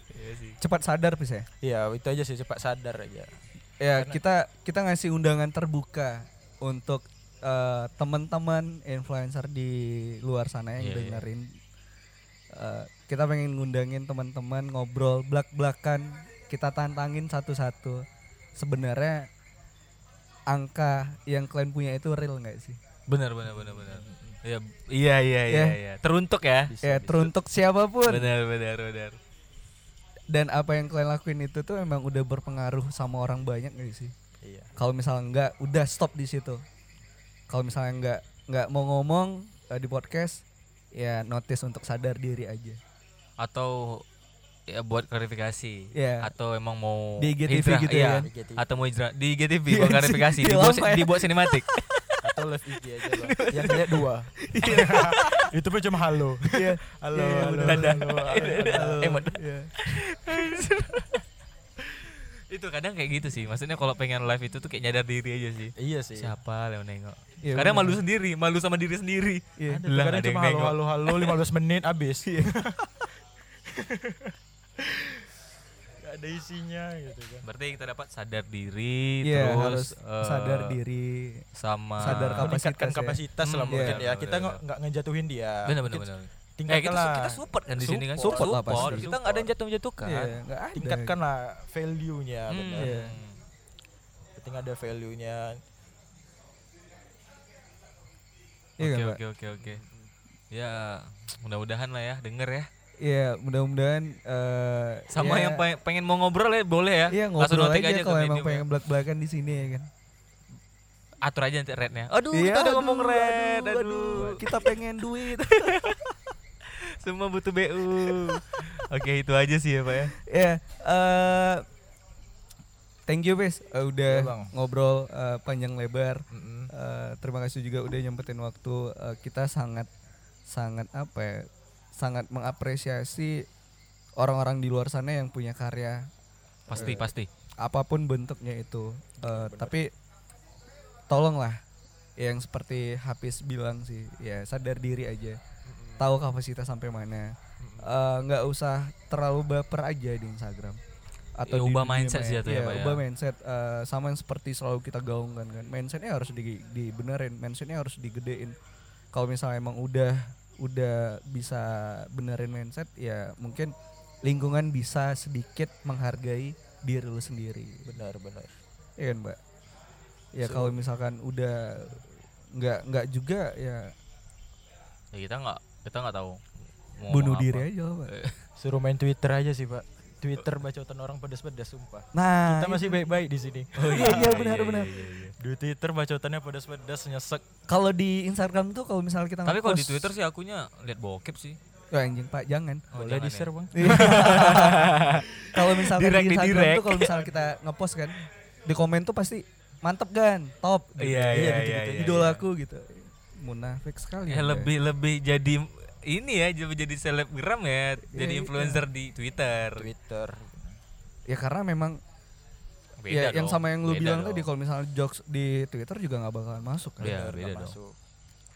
Speaker 1: Iya sih.
Speaker 2: cepat sadar ya? bisa
Speaker 3: Iya, itu aja sih cepat sadar aja.
Speaker 2: ya kita kita ngasih undangan terbuka untuk eh, teman-teman influencer di luar sana
Speaker 1: Iya,
Speaker 2: yang
Speaker 1: iya.
Speaker 2: dengerin Eh, kita pengen ngundangin teman-teman ngobrol blak-blakan kita tantangin satu-satu sebenarnya angka yang kalian punya itu real nggak sih
Speaker 1: Benar benar benar benar. Iya iya iya iya.
Speaker 2: Ya.
Speaker 1: iya. Teruntuk ya.
Speaker 2: ya teruntuk siapapun
Speaker 1: Benar benar benar.
Speaker 2: dan apa yang kalian lakuin itu tuh emang udah berpengaruh sama orang banyak nggak sih
Speaker 3: Iya.
Speaker 2: kalau misalnya enggak udah stop di situ kalau misalnya enggak enggak mau ngomong eh, di podcast ya notice untuk sadar diri aja
Speaker 1: Atau ya buat klarifikasi
Speaker 2: Iya.
Speaker 1: atau emang mau
Speaker 2: Di IGTV
Speaker 1: hijrah,
Speaker 2: gitu
Speaker 1: iya.
Speaker 2: ya kan?
Speaker 3: IGTV.
Speaker 1: atau mau hijrah di IGTV buat klarifikasi
Speaker 2: di
Speaker 1: dibuat
Speaker 2: lama ya.
Speaker 1: dibuat sinematik
Speaker 3: Atau live IG aja, Bang. Yang lihat dua. itu pun cuma halo.
Speaker 2: Iya.
Speaker 3: Halo,
Speaker 2: Iya,
Speaker 3: halo,
Speaker 2: bener.
Speaker 3: halo, halo.
Speaker 1: emot
Speaker 2: Iya.
Speaker 1: itu kadang kayak gitu sih maksudnya kalau pengen live itu tuh kayak nyadar diri aja sih
Speaker 3: Iya sih.
Speaker 1: siapa yang nengok
Speaker 2: Iya,
Speaker 1: kadang
Speaker 2: bener.
Speaker 1: malu sendiri malu sama diri sendiri
Speaker 2: Iya.
Speaker 3: Ada,
Speaker 1: Lah,
Speaker 3: kadang
Speaker 1: ada yang
Speaker 3: cuma
Speaker 1: nengok.
Speaker 3: halo, halo, halo 15 menit habis. Gak ada isinya gitu kan.
Speaker 1: berarti kita dapat sadar diri
Speaker 2: Iya,
Speaker 1: terus
Speaker 2: harus
Speaker 1: eh,
Speaker 2: sadar diri
Speaker 1: sama
Speaker 2: sadar kapasitas
Speaker 3: Meningkatkan
Speaker 2: ya.
Speaker 3: kapasitas lah
Speaker 1: Hmm,
Speaker 3: mungkin
Speaker 1: iya,
Speaker 3: ya.
Speaker 1: bener,
Speaker 3: Kita
Speaker 1: bener,
Speaker 3: nggak nggak ngejatuhin dia.
Speaker 1: benar benar
Speaker 3: Mungkin
Speaker 1: benar Eh,
Speaker 3: Tingkatkan
Speaker 1: kita,
Speaker 3: lah.
Speaker 1: kita support kan di sini kan
Speaker 3: Support.
Speaker 2: Support lah pasti.
Speaker 1: kita nggak ada yang jatuh jatuhkan
Speaker 2: Iya, enggak ada.
Speaker 3: Tingkatkan lah value-nya.
Speaker 1: Hmm.
Speaker 3: bener.
Speaker 2: Iya.
Speaker 3: Penting ada value-nya.
Speaker 2: Iya kan,
Speaker 1: Oke
Speaker 2: Pak?
Speaker 1: oke oke oke. Ya mudah-mudahan lah ya denger ya.
Speaker 2: Iya, mudah-mudahan eh,
Speaker 1: Sama
Speaker 2: ya,
Speaker 1: yang pe- pengen mau ngobrol ya boleh ya.
Speaker 2: Iya,
Speaker 1: Langsung
Speaker 2: ngobrol
Speaker 1: notik
Speaker 2: aja,
Speaker 1: aja ke
Speaker 2: kalau emang
Speaker 1: medium
Speaker 2: pengen belak-belakan di sini ya kan.
Speaker 1: ya. Atur aja nanti rednya. Aduh
Speaker 2: Iya,
Speaker 1: kita udah ngomong
Speaker 2: aduh,
Speaker 1: red. Aduh,
Speaker 2: Kita pengen duit.
Speaker 1: Semua butuh BU. oke itu aja sih ya pak ya.
Speaker 2: Ya, eh thank you Pes Eh, udah
Speaker 3: Iya, Bang.
Speaker 2: ngobrol eh, panjang lebar.
Speaker 3: Mm-mm.
Speaker 2: Eh, terima kasih juga udah nyempetin waktu. Eh, kita sangat sangat apa ya? Sangat mengapresiasi orang-orang di luar sana yang punya karya Iya.
Speaker 1: Pasti pasti.
Speaker 2: apapun bentuknya itu.
Speaker 1: Iya,
Speaker 2: Eh, tapi tolonglah yang seperti Hafiz bilang sih, ya sadar diri aja. Tahu kapasitas sampai mana. Eh, nggak usah terlalu baper aja di Instagram.
Speaker 1: Ya,
Speaker 2: di
Speaker 1: ubah
Speaker 2: dunia
Speaker 1: mindset sih
Speaker 2: maya.
Speaker 1: jatuhnya,
Speaker 2: Iya,
Speaker 1: Pak, ya.
Speaker 2: ubah mindset Eh, sama yang seperti selalu kita gaungkan kan. Mindsetnya harus di dibenerin, mindsetnya harus digedein. Kalau misalnya emang udah udah bisa benerin mindset ya mungkin lingkungan bisa sedikit menghargai diri lu sendiri.
Speaker 3: Benar, benar.
Speaker 2: Iya kan, Mbak? Ya kalau misalkan udah nggak nggak juga ya
Speaker 1: Ya kita nggak kita nggak tahu. mau ngomong
Speaker 2: bunuh
Speaker 1: apa.
Speaker 2: diri aja, Pak.
Speaker 3: Suruh main Twitter aja sih, Pak. Twitter bacotan orang pedas-pedas sumpah.
Speaker 2: Nah,
Speaker 3: Kita masih baik-baik di sini.
Speaker 1: Oh,
Speaker 2: Iya, iya, benar, benar.
Speaker 1: iya, iya.
Speaker 3: Di Twitter bacotannya pedas-pedas nyesek.
Speaker 2: kalau di Instagram tuh kalau misalnya kita
Speaker 1: Tapi kalau di
Speaker 2: nge-post-
Speaker 1: Twitter sih akunya lihat bokep sih.
Speaker 2: Ya anjing Pak, jangan.
Speaker 1: Oh,
Speaker 6: boleh
Speaker 1: jangan
Speaker 6: di
Speaker 1: ya.
Speaker 6: share bang
Speaker 2: kalau misalkan
Speaker 6: Direct
Speaker 2: di
Speaker 6: di
Speaker 2: Instagram
Speaker 6: direct.
Speaker 2: tuh kalau misalnya kita ngepost kan di komen tuh pasti mantep kan, top. gitu.
Speaker 6: Iya, iya,
Speaker 2: gitu-gitu.
Speaker 6: iya, iya,
Speaker 2: Idolaku gitu. Munafik sekali.
Speaker 1: Ya,
Speaker 2: Anda.
Speaker 1: lebih lebih jadi ini ya jadi jadi selebgram ya, jadi
Speaker 2: iya.
Speaker 1: influencer di Twitter.
Speaker 3: Twitter
Speaker 2: Ya karena memang
Speaker 1: Beda
Speaker 2: ya yang
Speaker 1: dong,
Speaker 2: sama yang lu
Speaker 1: beda
Speaker 2: bilang
Speaker 1: dong.
Speaker 2: tadi kalau misalnya jokes di Twitter juga nggak bakalan masuk kan.
Speaker 1: Iya,
Speaker 3: Twitter nggak
Speaker 1: beda dong.
Speaker 3: masuk.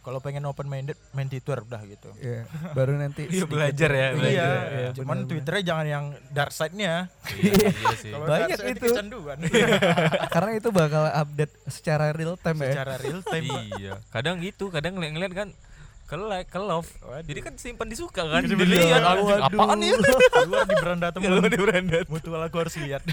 Speaker 3: Kalau pengen open minded main Twitter udah gitu.
Speaker 2: Iya, baru nanti
Speaker 1: Iya
Speaker 2: sedikit.
Speaker 1: belajar ya,
Speaker 3: Iya,
Speaker 1: belajar.
Speaker 2: iya,
Speaker 3: cuman
Speaker 2: benar-benar.
Speaker 3: Twitternya jangan yang dark side-nya.
Speaker 1: Iya, iya sih.
Speaker 3: Kalau
Speaker 2: Banyak
Speaker 3: dark side-nya
Speaker 2: itu.
Speaker 3: kecanduan.
Speaker 2: karena itu bakal update secara real time ya.
Speaker 3: Secara real time.
Speaker 1: iya. Kadang gitu, kadang ngeliat-ngeliat kan ke like, ke love.
Speaker 3: Waduh.
Speaker 1: Jadi kan simpan di suka kan.
Speaker 3: Iya,
Speaker 1: Dilihat anjing,
Speaker 3: waduh.
Speaker 1: apaan ya?
Speaker 3: Keluar di beranda temen.
Speaker 1: Keluar di beranda.
Speaker 3: Mutual aku harus lihat.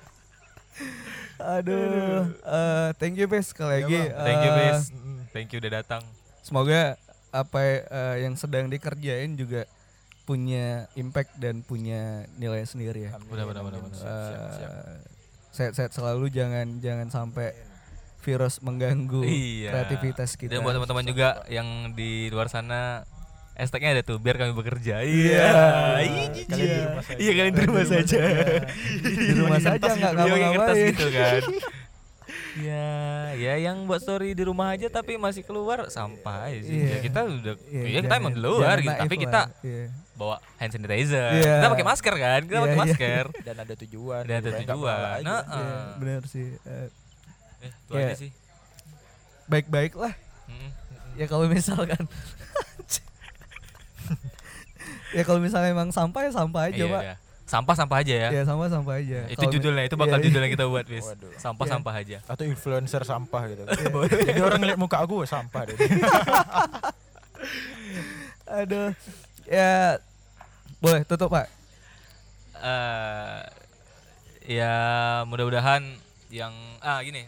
Speaker 2: Aduh, eh, thank you Bes sekali lagi.
Speaker 1: Ya, Thank you
Speaker 2: Eh,
Speaker 1: guys.
Speaker 3: Mm.
Speaker 1: Thank you udah datang.
Speaker 2: Semoga apa eh, yang sedang dikerjain juga punya impact dan punya nilai sendiri ya.
Speaker 1: Benar benar benar benar.
Speaker 2: Eh, Sehat-sehat selalu jangan jangan sampai virus mengganggu
Speaker 1: Iya.
Speaker 2: kreativitas kita.
Speaker 1: Dan buat teman-teman juga yang di luar sana hashtagnya ada tuh biar kami bekerja. Iya. Ih,
Speaker 3: Kalian di
Speaker 1: jijik.
Speaker 3: rumah saja.
Speaker 1: Iya kalian di rumah saja.
Speaker 2: di rumah saja nggak
Speaker 1: Iya, yang kertas
Speaker 2: ngapa-ngapain.
Speaker 1: gitu kan. ya, ya yang buat story di rumah aja tapi masih keluar sampah aja sih.
Speaker 2: Iya.
Speaker 1: Ya, kita udah ya,
Speaker 2: Iya,
Speaker 1: kita
Speaker 2: jangan-
Speaker 1: emang di luar
Speaker 2: jangan
Speaker 1: gitu, tapi
Speaker 2: naif
Speaker 1: kita
Speaker 2: lah. Iya.
Speaker 1: bawa hand sanitizer.
Speaker 2: Iya.
Speaker 1: Kita pakai masker kan? Kita
Speaker 2: Iya,
Speaker 1: pakai
Speaker 2: iya.
Speaker 1: masker.
Speaker 3: Dan ada tujuan.
Speaker 1: Dan ada
Speaker 3: Pokoknya nggak
Speaker 1: tujuan.
Speaker 3: malah aja.
Speaker 1: Nah,
Speaker 2: Iya, benar sih. Eh,
Speaker 1: eh, itu
Speaker 2: Iya.
Speaker 1: aja sih.
Speaker 2: Baik-baik lah.
Speaker 1: Mm-mm.
Speaker 2: ya kalau misalkan ya kalau misalnya emang sampah ya sampah aja
Speaker 1: Iya,
Speaker 2: pak
Speaker 1: udah. Sampah-sampah aja ya.
Speaker 2: ya sampah sampah aja
Speaker 1: Itu
Speaker 2: Kalau mi-
Speaker 1: judulnya, itu bakal
Speaker 2: iya,
Speaker 1: judulnya kita buat, Wis.
Speaker 3: Waduh.
Speaker 1: Sampah-sampah aja.
Speaker 3: Atau influencer sampah gitu. Jadi orang ngeliat muka aku "Wah, sampah deh.
Speaker 2: aduh ya boleh tutup pak
Speaker 1: eh ya mudah-mudahan yang ah gini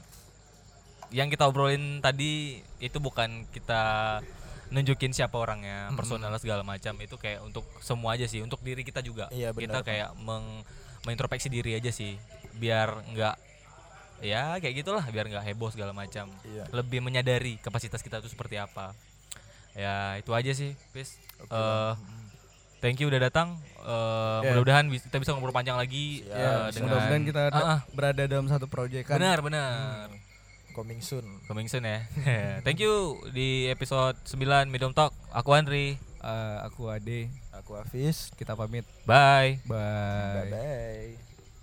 Speaker 1: yang kita obrolin tadi itu bukan kita nunjukin siapa orangnya personal segala macam itu kayak untuk semua aja sih untuk diri kita juga
Speaker 3: Iya,
Speaker 1: kita
Speaker 3: benar.
Speaker 1: kayak meng mengintrospeksi diri aja sih biar nggak ya kayak gitulah biar nggak heboh segala macam
Speaker 3: Iya.
Speaker 1: lebih menyadari kapasitas kita itu seperti apa ya itu aja sih peace Eh, thank you udah datang Eh, mudah-mudahan bis- kita bisa ngobrol panjang lagi eh,
Speaker 2: ya
Speaker 1: dengan
Speaker 2: Iya. mudah-mudahan kita ada-
Speaker 1: Ah, ah,
Speaker 2: berada dalam satu proyek kan
Speaker 1: benar benar
Speaker 3: Coming soon.
Speaker 1: coming soon ya thank you di episode 9 Medium Talk aku Andri
Speaker 2: Eh, aku Ade
Speaker 3: Aku Hafiz.
Speaker 2: kita pamit
Speaker 1: bye
Speaker 2: bye
Speaker 3: Bye bye.